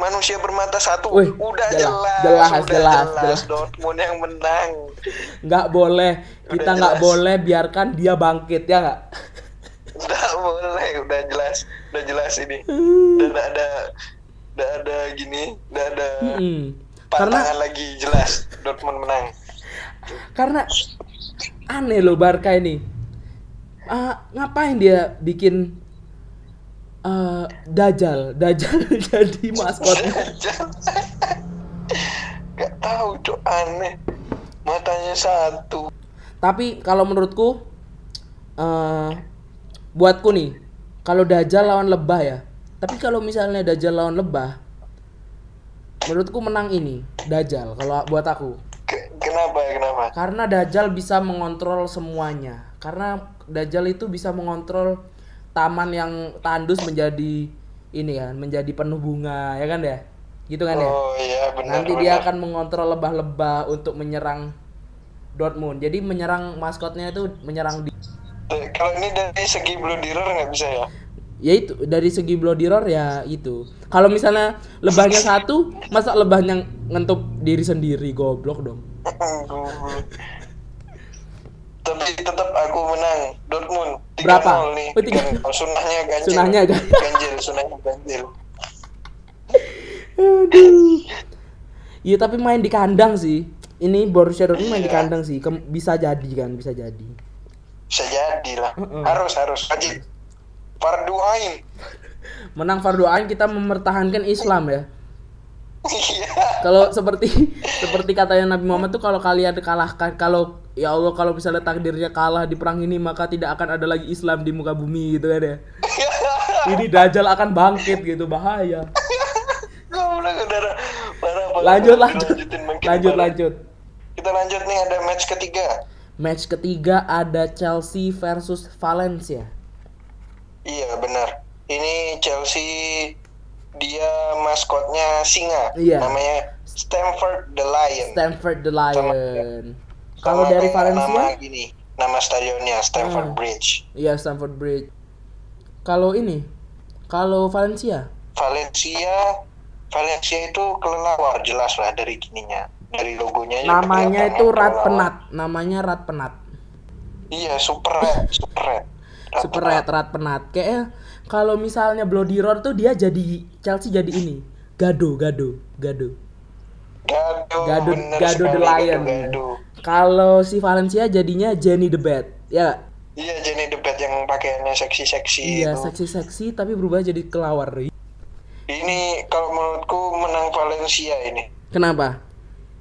manusia bermata satu
Wih,
udah
jelas,
jelas
jelas,
udah
jelas,
jelas,
jelas.
Dortmund yang menang
nggak boleh kita
Udah
nggak
jelas.
boleh biarkan dia bangkit ya nggak
udah boleh udah jelas udah jelas ini
Hmm.
dan ada udah ada gini udah ada
Mm-mm. Hmm. karena
pantangan lagi jelas Dortmund menang
karena aneh loh Barca ini Ah, ngapain dia bikin eh, Dajjal Dajjal jadi maskotnya
Gak tahu cok aneh matanya satu
Tapi kalau menurutku eh buatku nih, kalau Dajjal lawan lebah ya. Tapi kalau misalnya Dajjal lawan lebah, menurutku menang ini Dajjal kalau buat aku.
Ke- kenapa kenapa Kenapa?
Karena Dajjal bisa mengontrol semuanya. Karena Dajjal itu bisa mengontrol taman yang tandus menjadi ini kan, menjadi penuh bunga, ya kan ya? Gitu kan ya?
Oh iya benar.
Nanti dia
benar.
akan mengontrol lebah-lebah untuk menyerang Dortmund. Jadi menyerang maskotnya itu menyerang di
Tuh, Kalau ini dari segi blue dealer nggak bisa ya?
ya itu dari segi blodiror ya itu. Kalau misalnya lebahnya satu, masa lebahnya ngentup diri sendiri goblok dong.
Goblok. Tapi tetap aku menang Dortmund 3-0
Berapa?
nih.
Oh, tiga-
Ganjil. Sunahnya ganjil.
Sunahnya ganjil.
ganjil, sunahnya ganjil.
Aduh. Iya tapi main di kandang sih. Ini Borussia Dortmund main di
Iya.
kandang sih. Kem- bisa jadi kan, bisa jadi.
Bisa jadi lah.
Mm-mm.
Harus harus wajib. Parduain.
Menang fardu ain kita mempertahankan Islam ya.
Iya.
Kalau seperti seperti katanya Nabi Muhammad tuh kalau kalian kalahkan kalau ya Allah kalau misalnya takdirnya kalah di perang ini maka tidak akan ada lagi Islam di muka bumi gitu kan ya. Ini dajjal akan bangkit gitu bahaya.
Goblok udara. Parah, parah.
Lanjut lanjut.
Lanjutin, makin
Lanjut
parah.
lanjut.
Kita lanjut nih ada match ketiga.
Match ketiga ada Chelsea versus Valencia.
Iya benar. Ini Chelsea dia maskotnya singa.
Iya.
Namanya Stamford the Lion.
Stanford the
Sama-
Lion. Kalau dari
kayak Nama
Valencia,
gini, nama stadionnya Stamford
Hmm.
Bridge.
iya Stamford Bridge. Kalau ini, kalau Valencia,
Valencia, Valencia itu kelelawar jelas lah dari gininya, dari logonya. juga
namanya
kelihatan
itu
kan
Rat
kelelawar.
Penat, namanya Rat Penat.
Iya, super red, super red. Rat
Super
penat.
Red Rat Penat. Kayaknya kalau misalnya Bloody Roar tuh dia jadi Chelsea jadi ini. Gado, gado, gado.
Gado,
Gado,
bener
gado the
sekali,
Lion.
Gado.
Kalau si Valencia jadinya Jenny the Bat. Ya,
Iya, Jenny debat yang pakaiannya seksi-seksi
iya
itu.
seksi-seksi tapi berubah jadi kelawar.
Ini kalau menurutku menang Valencia ini.
Kenapa?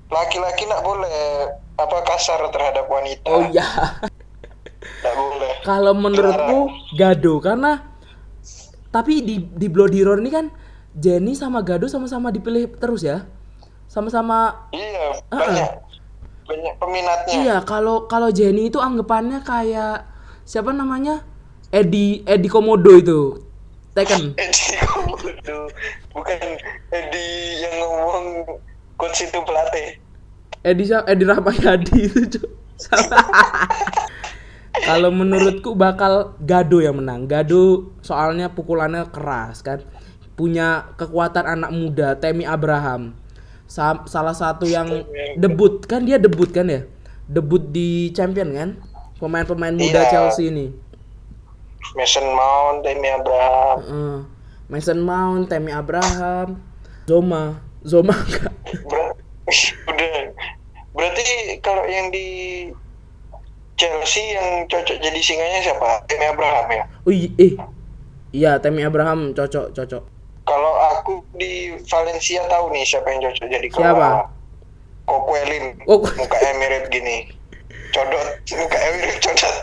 Laki-laki nak boleh apa kasar terhadap wanita.
Oh iya.
Nak boleh.
Kalau menurutku Gado karena tapi di di Bloody Roar ini kan Jenny sama Gado sama-sama dipilih terus ya. Sama-sama
Iya, banyak. Banyak peminatnya.
Ah. iya kalau kalau Jenny itu anggapannya kayak siapa namanya? Edi Edi Komodo itu. Tekken.
Edi Komodo. Bukan Edi yang ngomong coach itu pelatih.
Edi siapa? Edi Rahmayadi eh, itu, Cuk. Sama- Kalau menurutku bakal Gado yang menang. Gado soalnya pukulannya keras kan. Punya kekuatan anak muda Temi Abraham. Sa- salah satu yang debut kan dia debut kan ya. Debut di Champion kan. Pemain-pemain muda
Iya.
Chelsea ini.
Mason Mount, Demi Abraham.
Heeh. Mason Mount, Temi Abraham, Zoma, Zoma enggak.
Ber- Udah. Berarti kalau yang di Chelsea yang cocok jadi singanya siapa? Demi Abraham ya.
Oh, iya, eh. Iya, Temi Abraham cocok cocok.
Kalau aku di Valencia tahu nih siapa yang cocok jadi
Siapa?
kelawar. Kokuelin.
Oh, Ko-
Mukanya mirip gini. Codot, mukanya mirip codot.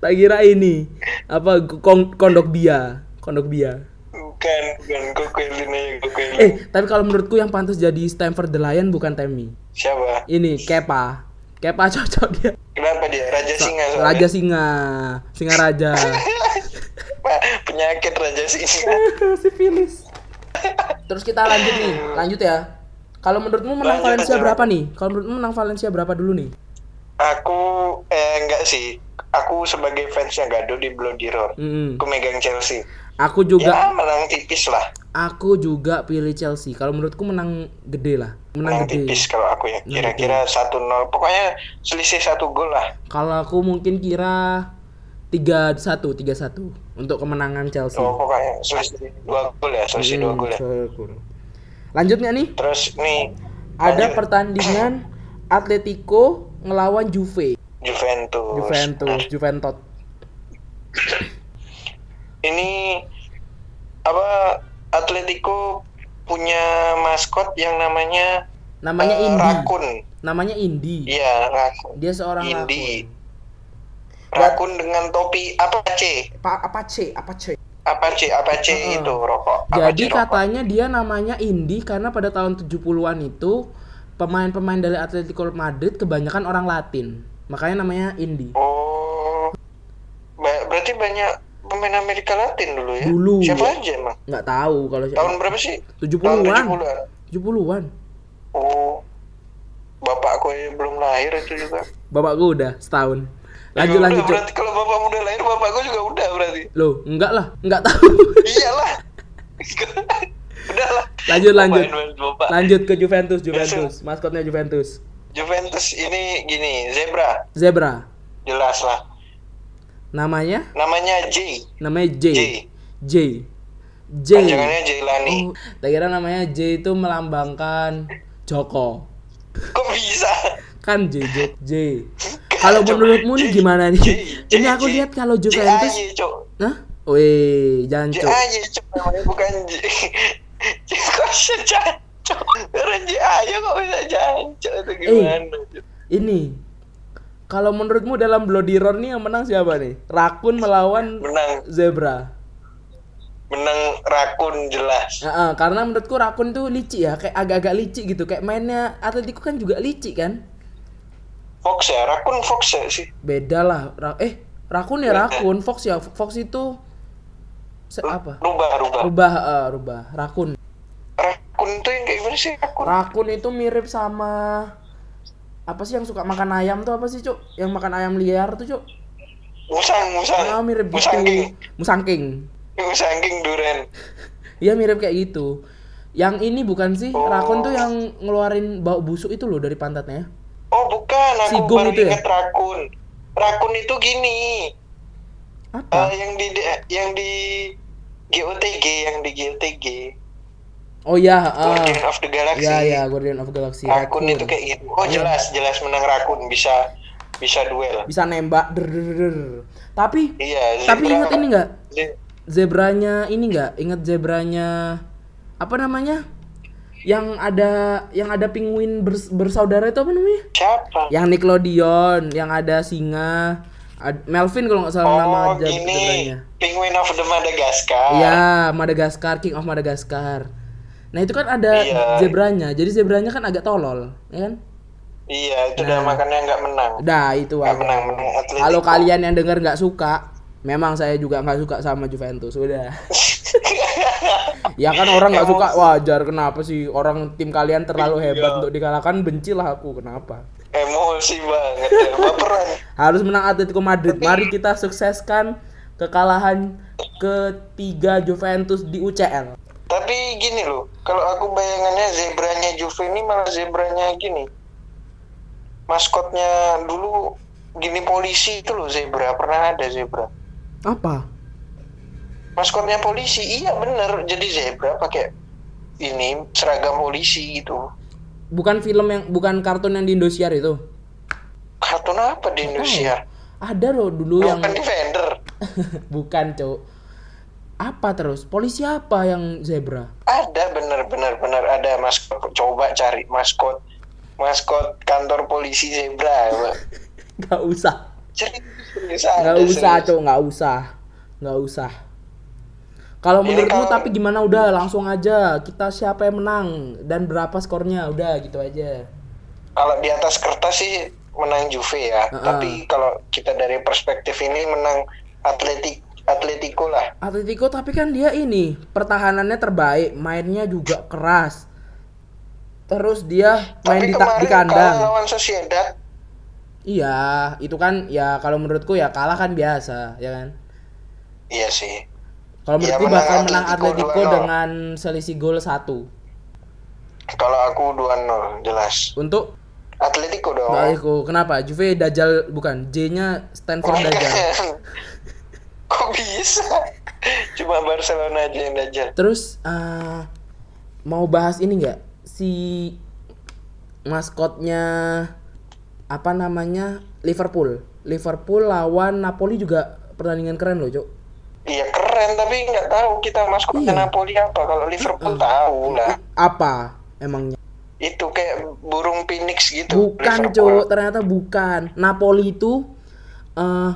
Tak kira ini apa kon- kondok bia, kondok bia.
Bukan, bukan Kokuelin aja Kokuelin.
Eh, tapi kalau menurutku yang pantas jadi Stanford the Lion bukan Temi.
Siapa?
Ini Kepa. Kepa cocok dia.
Kenapa dia? Raja singa soalnya.
Raja singa, singa raja.
Pak, penyakit raja singa.
Sifilis. Terus kita lanjut nih, lanjut ya. Kalau menurutmu menang
Lanjut
Valencia
aja.
berapa nih? Kalau menurutmu menang Valencia berapa dulu nih?
Aku eh enggak sih. Aku sebagai fansnya Gado di Bloody Roar.
Mm-mm.
Aku megang Chelsea.
Aku juga
Ya menang tipis lah.
aku juga pilih Chelsea. Kalau menurutku menang gede lah. Menang
Menang
gede.
tipis kalau aku ya.
Menang gede.
Kira-kira 1-0. Pokoknya selisih satu gol lah.
Kalau aku mungkin kira 3-1, 3-1 untuk kemenangan Chelsea.
Oh, pokoknya selisih dua gol ya, selisih dua
Gitu. Hmm,
gol ya.
syukur. Lanjut nggak nih?
Terus nih
Ada
lanjut,
pertandingan Atletico ngelawan Juve.
Juventus. Nah,
Juventus, Juventus.
ini apa Atletico punya maskot yang namanya
Namanya
eh,
Indi.
Rakun.
Namanya Indi.
Iya, Rakun.
Dia seorang
Indi.
rakun.
Rakun dengan topi Apache.
Pa- Apache, Apache.
Apache, Apache
Heeh.
itu rokok.
Hmm. Jadi
Apache rokok.
katanya dia namanya Indi karena pada tahun 70-an itu pemain-pemain dari Atletico Madrid kebanyakan orang Latin. Makanya namanya indie.
Oh. Ba- berarti banyak pemain Amerika Latin dulu ya?
Dulu. Ya.
Siapa aja emang?
Nggak tahu kalau siapa.
Tahun berapa sih? Tahun
70-an.
70-an.
70-an.
Oh. Bapakku aja belum lahir itu juga.
Bapakku udah setahun. Lanjut
Ya
lanjut,
udah,
Cuk.
berarti kalau bapak udah lahir, bapakku juga udah berarti.
Loh, enggak lah, enggak tahu.
Iyalah. udah lah.
lanjut lanjut.
Pemain bapak.
Lanjut ke Juventus, Juventus. Maskotnya Juventus.
Juventus ini gini, Zebra.
Zebra.
Jelas lah.
Namanya
Namanya J.
namanya J.
J.
J. J.
Panjangannya Jailani.
Oh, tak kira namanya J itu melambangkan Joko.
Kok bisa?
Kan J J. J. Kalau
Cok.
menurutmu nih
J,
gimana nih?
J, J,
Ini aku
J.
lihat kalau Juventus,
J.A.Y., Cok.
Hah? Weh, jangan cok.
J.A.Y., Cok. Namanya bukan J. J. Kok bisa jancok? Orang J.A.Y. kok bisa jancok? Itu
Eh.
gimana? Cok?
Ini. Kalau menurutmu dalam Bloody Roar nih yang menang siapa nih? Rakun melawan
Menang.
zebra.
Menang rakun jelas.
Heeh, karena menurutku Rakun tuh licik ya, kayak agak-agak licik gitu. Kayak mainnya Atletico kan juga licik kan?
Fox ya? Rakun Fox ya sih?
Beda lah. Ra- eh, Rakun ya
Beda.
Rakun, Fox ya Fox itu se- apa?
Rubah, rubah.
Rubah, eh, rubah. Rakun.
Rakun tuh yang kayak gimana sih? Rakun.
Rakun itu mirip sama apa sih yang suka makan ayam tuh apa sih, Cuk? Yang makan ayam liar tuh, Cuk.
Musang, musang.
Ah, mirip gitu.
Eh, Musangking.
Musangking.
Musangking Duren.
Iya mirip kayak gitu. Yang ini bukan sih
Oh.
Rakun tuh yang ngeluarin bau busuk itu loh dari pantatnya.
Oh bukan, aku
Sigum
baru
itu ya?
ingat rakun. Rakun itu gini, eh,
Apa?
yang di yang di GOTG, yang di GOTG,
Oh ya, ah.
Guardian of the Galaxy.
Ya ya Guardian of Galaxy.
rakun, itu kayak gitu. Oh
Iya.
jelas, jelas menang rakun bisa bisa duel.
bisa nembak. der, der, der, der. Tapi
Iya.
tapi ingat ini enggak?
Ze-
Zebranya ini enggak? Ingat zebranya apa namanya? Yang ada yang ada penguin bers- bersaudara itu apa namanya?
Siapa?
Yang Nickelodeon, yang ada singa, ad- Melvin kalau nggak salah nama
oh Ah.
ze-
gini,
zebranya.
Penguin of the Madagascar.
Iya, Madagaskar, King of Madagaskar. Nah, itu kan ada
Iya.
zebranya. Jadi zebranya kan agak tolol, ya kan?
Iya, itu
Nah.
udah makanya nggak menang.
Dah itu
Nggak
aja.
menang, menang atlet.
Kalau kalian yang dengar nggak suka, memang saya juga nggak suka sama Juventus. Udah. ya kan orang nggak suka wajar. Kenapa sih orang tim kalian terlalu hebat untuk dikalahkan? Bencilah aku. Kenapa?
Emosi banget, ya. baperan.
Harus menang Atletico Madrid. Mari kita sukseskan kekalahan ketiga Juventus di UCL.
Tapi gini loh, kalau aku bayangannya zebranya Juve ini malah zebranya gini. Maskotnya dulu gini polisi itu loh zebra, pernah ada zebra.
Apa?
Maskotnya polisi, iya bener. Jadi zebra pakai ini seragam polisi gitu.
Bukan film yang bukan kartun yang di Indosiar itu.
Kartun apa di Indonesia?
Ada loh dulu yang
Bukan Defender.
bukan, Cuk. Apa terus? Polisi apa yang zebra?
Ada bener-bener bener ada maskot. Coba cari maskot maskot kantor polisi zebra. coba.
Gak usah.
Serius, serius
nggak
ada,
usah
serius.
cok nggak usah nggak usah kalau
Ini
menurutmu
kalau-
tapi gimana udah langsung aja kita siapa yang menang dan berapa skornya udah gitu aja
kalau di atas kertas sih menang Juve ya.
Heeh.
Tapi kalau kita dari perspektif ini menang Atletik Atletico lah.
Atletico tapi kan dia ini pertahanannya terbaik mainnya juga keras terus dia main di,
Tapi
ta- di kandang
kalau lawan Sociedad
iya itu kan ya kalau menurutku ya kalah kan biasa ya kan
iya sih.
kalau
Ya,
menurutku
menang
bakal menang
Atletico
Atletico
2-0.
dengan selisih gol satu
Kalau aku 2-0 jelas.
untuk
Atletico dong.
Baikku, kenapa? Juve Dajjal bukan J-nya stand for
Bukan.
Dajjal.
Kok bisa? Cuma Barcelona aja yang dajal.
Terus eh, mau bahas ini nggak si maskotnya apa namanya Liverpool? Liverpool lawan Napoli juga pertandingan keren loh, Cok.
Iya keren tapi nggak tahu kita maskotnya
Iya.
Napoli apa. Kalau Liverpool tahu lah.
Apa emangnya?
Itu kayak burung phoenix gitu.
Bukan, Cok.
Liverpool.
Ternyata bukan. Napoli itu eh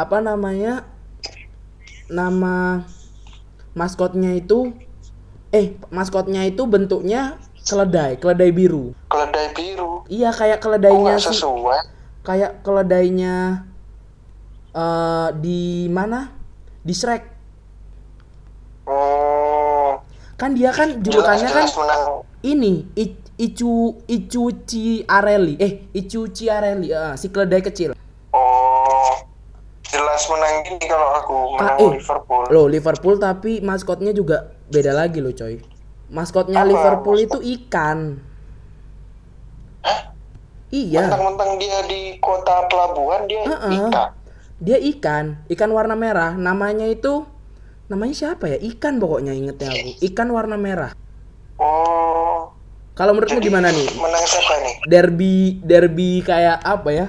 apa namanya? Nama maskotnya itu eh maskotnya itu bentuknya keledai, keledai biru.
Keledai
Iya kayak
Kok
keledainya
Oh, nggak
sih.
sesuai?
Kayak keledainya eh di mana? Di Shrek.
Oh,
Kan dia kan julukannya kan
jelas-jelas menang.
ini I- Icu Icu Ciarelli. Eh, Icu Ciarelli. eh, si keledai kecil.
Oh, jelas menang gini kalau aku menang
Ah, eh.
Liverpool.
Loh, Liverpool tapi maskotnya juga beda lagi loh, coy. Maskotnya
Apa?
Liverpool itu ikan. Iya,
Mentang-mentang dia di kota pelabuhan dia
Heeh.
ikan.
dia ikan, ikan warna merah. Namanya itu namanya siapa ya? Ikan pokoknya ingetnya aku. Ikan warna merah.
Oh,
Kalau menurutmu gimana nih?
menang siapa nih?
Derby derby kayak apa ya?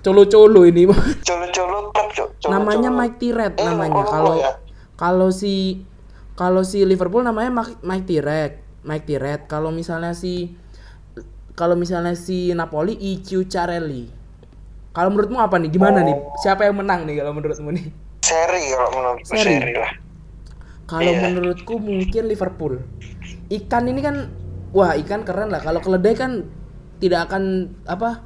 Colo-colo ini.
Colo-colo klub, Cok. Colo-colo.
namanya Mike Red
Eh,
namanya.
Colo-Colo
Kalau
ya?
kalau si kalau si Liverpool namanya Mike Mike Red, Mike Red. Kalau misalnya si kalau misalnya si Napoli Icu Carelli. Kalau menurutmu apa nih? Gimana nih?
Oh.
Siapa yang menang nih kalau menurutmu nih?
Seri kalau menurutku
Seri.
seri. lah.
Kalau
Iya.
menurutku mungkin Liverpool. Ikan ini kan wah, ikan keren lah. Kalau keledai kan tidak akan apa?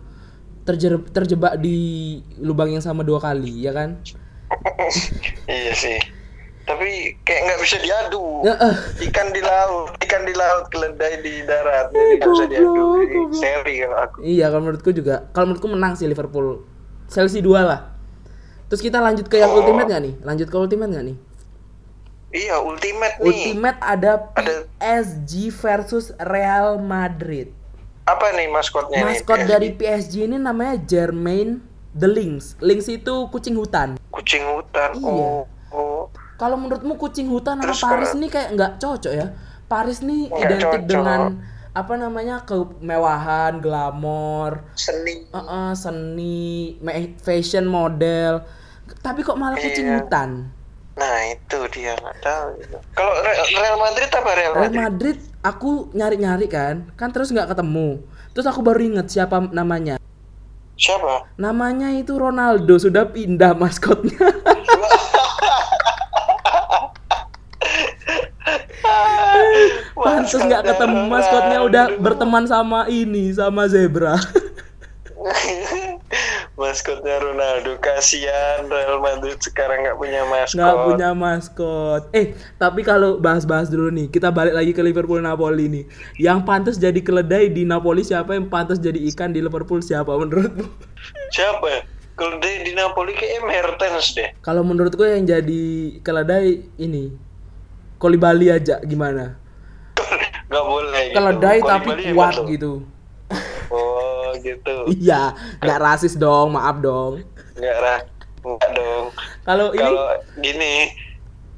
terjer- terjebak di lubang yang sama dua kali, ya kan?
Iya sih. Tapi kayak nggak bisa diadu.
Ya, eh.
Ikan di laut, ikan di laut, keledai di darat. Jadi nggak bisa diadu.
goblok,
Jadi
goblok.
Seri kalau aku.
Iya, kalau menurutku juga. Kalau menurutku menang sih Liverpool. Chelsea 2 lah. Terus kita lanjut ke yang
Oh.
ultimate nggak nih? Lanjut ke ultimate nggak nih?
Iya, ultimate nih.
Ultimate ada
Ada-
PSG versus Real Madrid.
Apa nih maskotnya nih?
Maskot
PSG?
dari PSG ini namanya Jermaine the Lynx. Lynx itu kucing hutan.
kucing hutan.
Iya.
Oh, oh.
Kalau menurutmu kucing hutan sama
Terus
Paris
kalau-
nih kayak nggak cocok ya? Paris nih
Nggak
identik
cocok.
dengan apa namanya kemewahan, glamor,
seni.
Heeh, seni, me- fashion model. Tapi kok malah kucing
Iya.
hutan?
Nah itu dia nggak tahu. itu. Kalau Re- Real Madrid apa Real
Real
Madrid?
Madrid aku nyari-nyari kan, kan terus nggak ketemu. Terus aku baru inget siapa namanya.
Siapa?
Namanya itu Ronaldo sudah pindah maskotnya. Pantes nggak ketemu maskotnya udah berteman sama ini sama zebra.
maskotnya Ronaldo kasihan Real Madrid sekarang nggak punya maskot.
nggak punya maskot. Eh, tapi kalau bahas-bahas dulu nih, kita balik lagi ke Liverpool Napoli nih. Yang pantas jadi keledai di Napoli siapa? Yang pantas jadi ikan di Liverpool siapa menurutmu?
Siapa? Kalau dia di Napoli kayak Mertens deh.
Kalau menurutku yang jadi keledai ini Kolibali aja gimana?
Nggak boleh. gitu.
Keledai
Kok
tapi
di Bali hebat
kuat
loh.
gitu.
Oh gitu.
Iya, nggak rasis dong, maaf dong.
Nggak rah. Nggak dong.
Kalau Oh, ini
kalau gini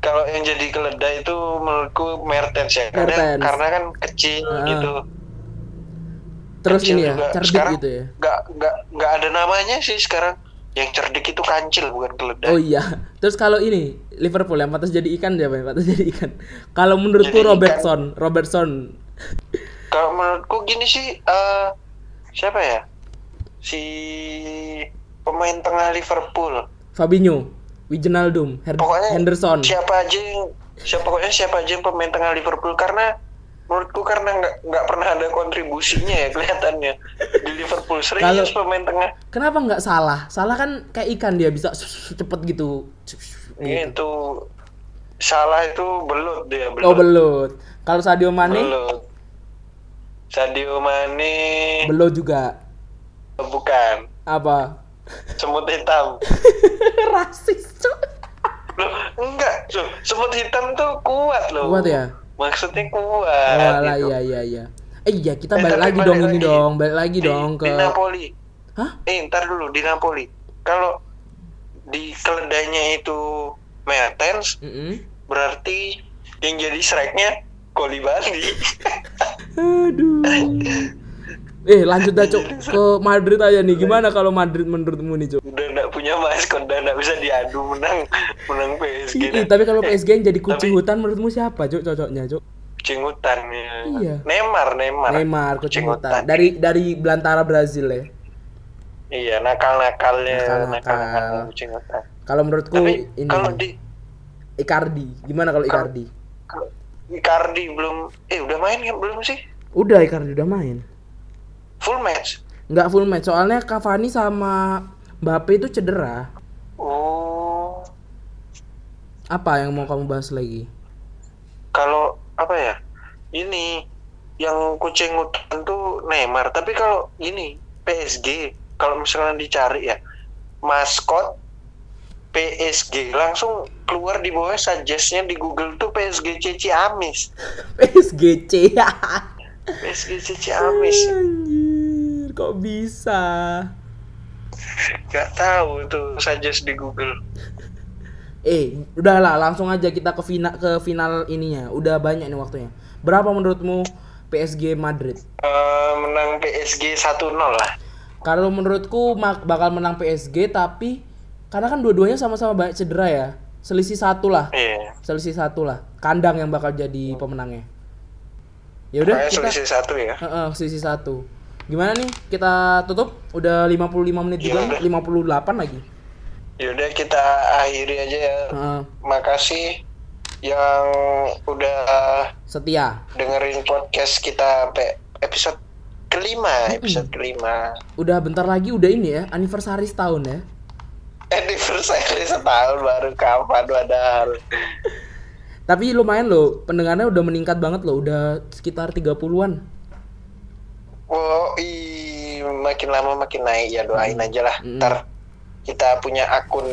kalau yang jadi keledai itu menurutku Mertens ya karena
Mertens.
karena kan kecil
Ah.
gitu
terus
Kecil
ini ya,
juga.
cerdik
sekarang
gitu ya.
nggak nggak nggak ada namanya sih sekarang yang cerdik itu kancil bukan keledai
Oh iya. Terus kalau ini Liverpool yang pantas jadi ikan siapa yang pantas jadi ikan? Kalau menurutku
Jadi ikan.
Robertson, Robertson
kalau menurutku gini sih eh siapa ya si pemain tengah Liverpool
Fabinho, Wijnaldum, Her-
pokoknya
Henderson.
siapa aja yang siapa pokoknya siapa aja yang pemain tengah Liverpool karena menurutku karena nggak nggak pernah ada kontribusinya ya kelihatannya di Liverpool serius
Kalau-
pemain tengah
Kenapa nggak salah? Salah kan kayak ikan dia bisa cepet gitu. Iya.
itu salah itu belut dia belut
Oh belut. Kalau Sadio Mane
Belut. Sadio Mane
belut juga.
bukan
Apa?
semut hitam
Rasis cuy.
loh enggak loh, semut hitam tuh kuat loh
Kuat ya?
maksudnya
Oh,
kuat
alah,
gitu.
iya iya iya. Eh iya kita
Eh,
balik
tapi
lagi
balik
dong ini
lagi. Eh,
dong, balik lagi
di,
dong ke
di Napoli
Hah?
Eh, ntar dulu di Napoli. Kalau di keledainya itu Mertens,
Mm-mm.
berarti yang jadi Shrek-nya Kolibali.
Aduh. Eh lanjut dah Cok. ke Madrid aja nih. Gimana kalau Madrid menurutmu nih Cok?
udah nggak punya maskot, udah nggak bisa diadu menang menang PSG.
Ih,
dah.
Iya, tapi kalau PSG yang jadi kucing
tapi-
hutan menurutmu siapa Cok cocoknya Cok?
Kucing hutan ya.
Iya.
Neymar, Neymar.
Neymar kucing hutan dari dari belantara Brazil ya.
Iya, nakal-nakalnya,
Nakal-nakal.
nakal-nakalnya kucing hutan.
Kalau menurutku
Tapi
ini ya?
kalau di
Icardi. Gimana kalau Icardi?
kalau Icardi belum eh udah main ya belum sih?
Udah Icardi udah main.
Full match.
Nggak full match, soalnya Cavani sama Mbappe itu cedera.
Oh.
Apa yang mau kamu bahas lagi?
Kalau apa ya? Ini yang kucing hutan tuh Neymar, tapi kalau ini PSG kalau misalnya dicari ya maskot PSG langsung keluar di bawah suggestnya di Google tuh PSG Cici Amis
SGC.
PSG Cici Amis
Anjir, kok bisa?
nggak tahu tuh suggest di Google
Eh, udahlah langsung aja kita ke final ke final ininya. Udah banyak nih waktunya. Berapa menurutmu PSG Madrid?
Eh, menang PSG 1-0 lah
Kalau menurutku mak- bakal menang PSG tapi karena kan dua-duanya sama-sama banyak cedera ya. Selisih satu lah.
iya
Selisih satu lah. Kandang yang bakal jadi pemenangnya. Ya udah
Pokoknya
kita
selisih satu ya
Heeh, selisih satu. Gimana nih? Kita tutup udah 55 menit juga,
Iya, udah.
58 lagi.
yaudah kita akhiri aja ya
Heeh,
makasih yang udah
setia.
dengerin podcast kita sampai episode kelima episode kelima
Udah bentar lagi udah ini ya, anniversary setahun ya.
Eh, anniversary setahun baru kapan padahal
Tapi lumayan loh, pendengarnya udah meningkat banget loh, udah sekitar 30-an.
oh i makin lama makin naik ya doain aja lah ntar kita punya akun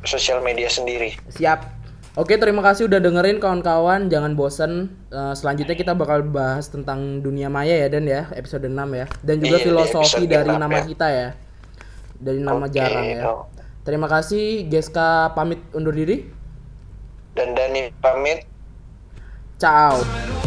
sosial media sendiri
Siap. Oke, terima kasih udah dengerin kawan-kawan, jangan bosen. Eh, selanjutnya kita bakal bahas tentang dunia maya ya Dan ya, episode 6 ya. Dan juga
Iya, di
filosofi
episode
dari
6
nama
ya.
kita ya. Dari nama
Oke, oh.
jarang ya.
no.
Terima kasih Geska pamit undur diri.
dan Dani pamit
Ciao.
Seru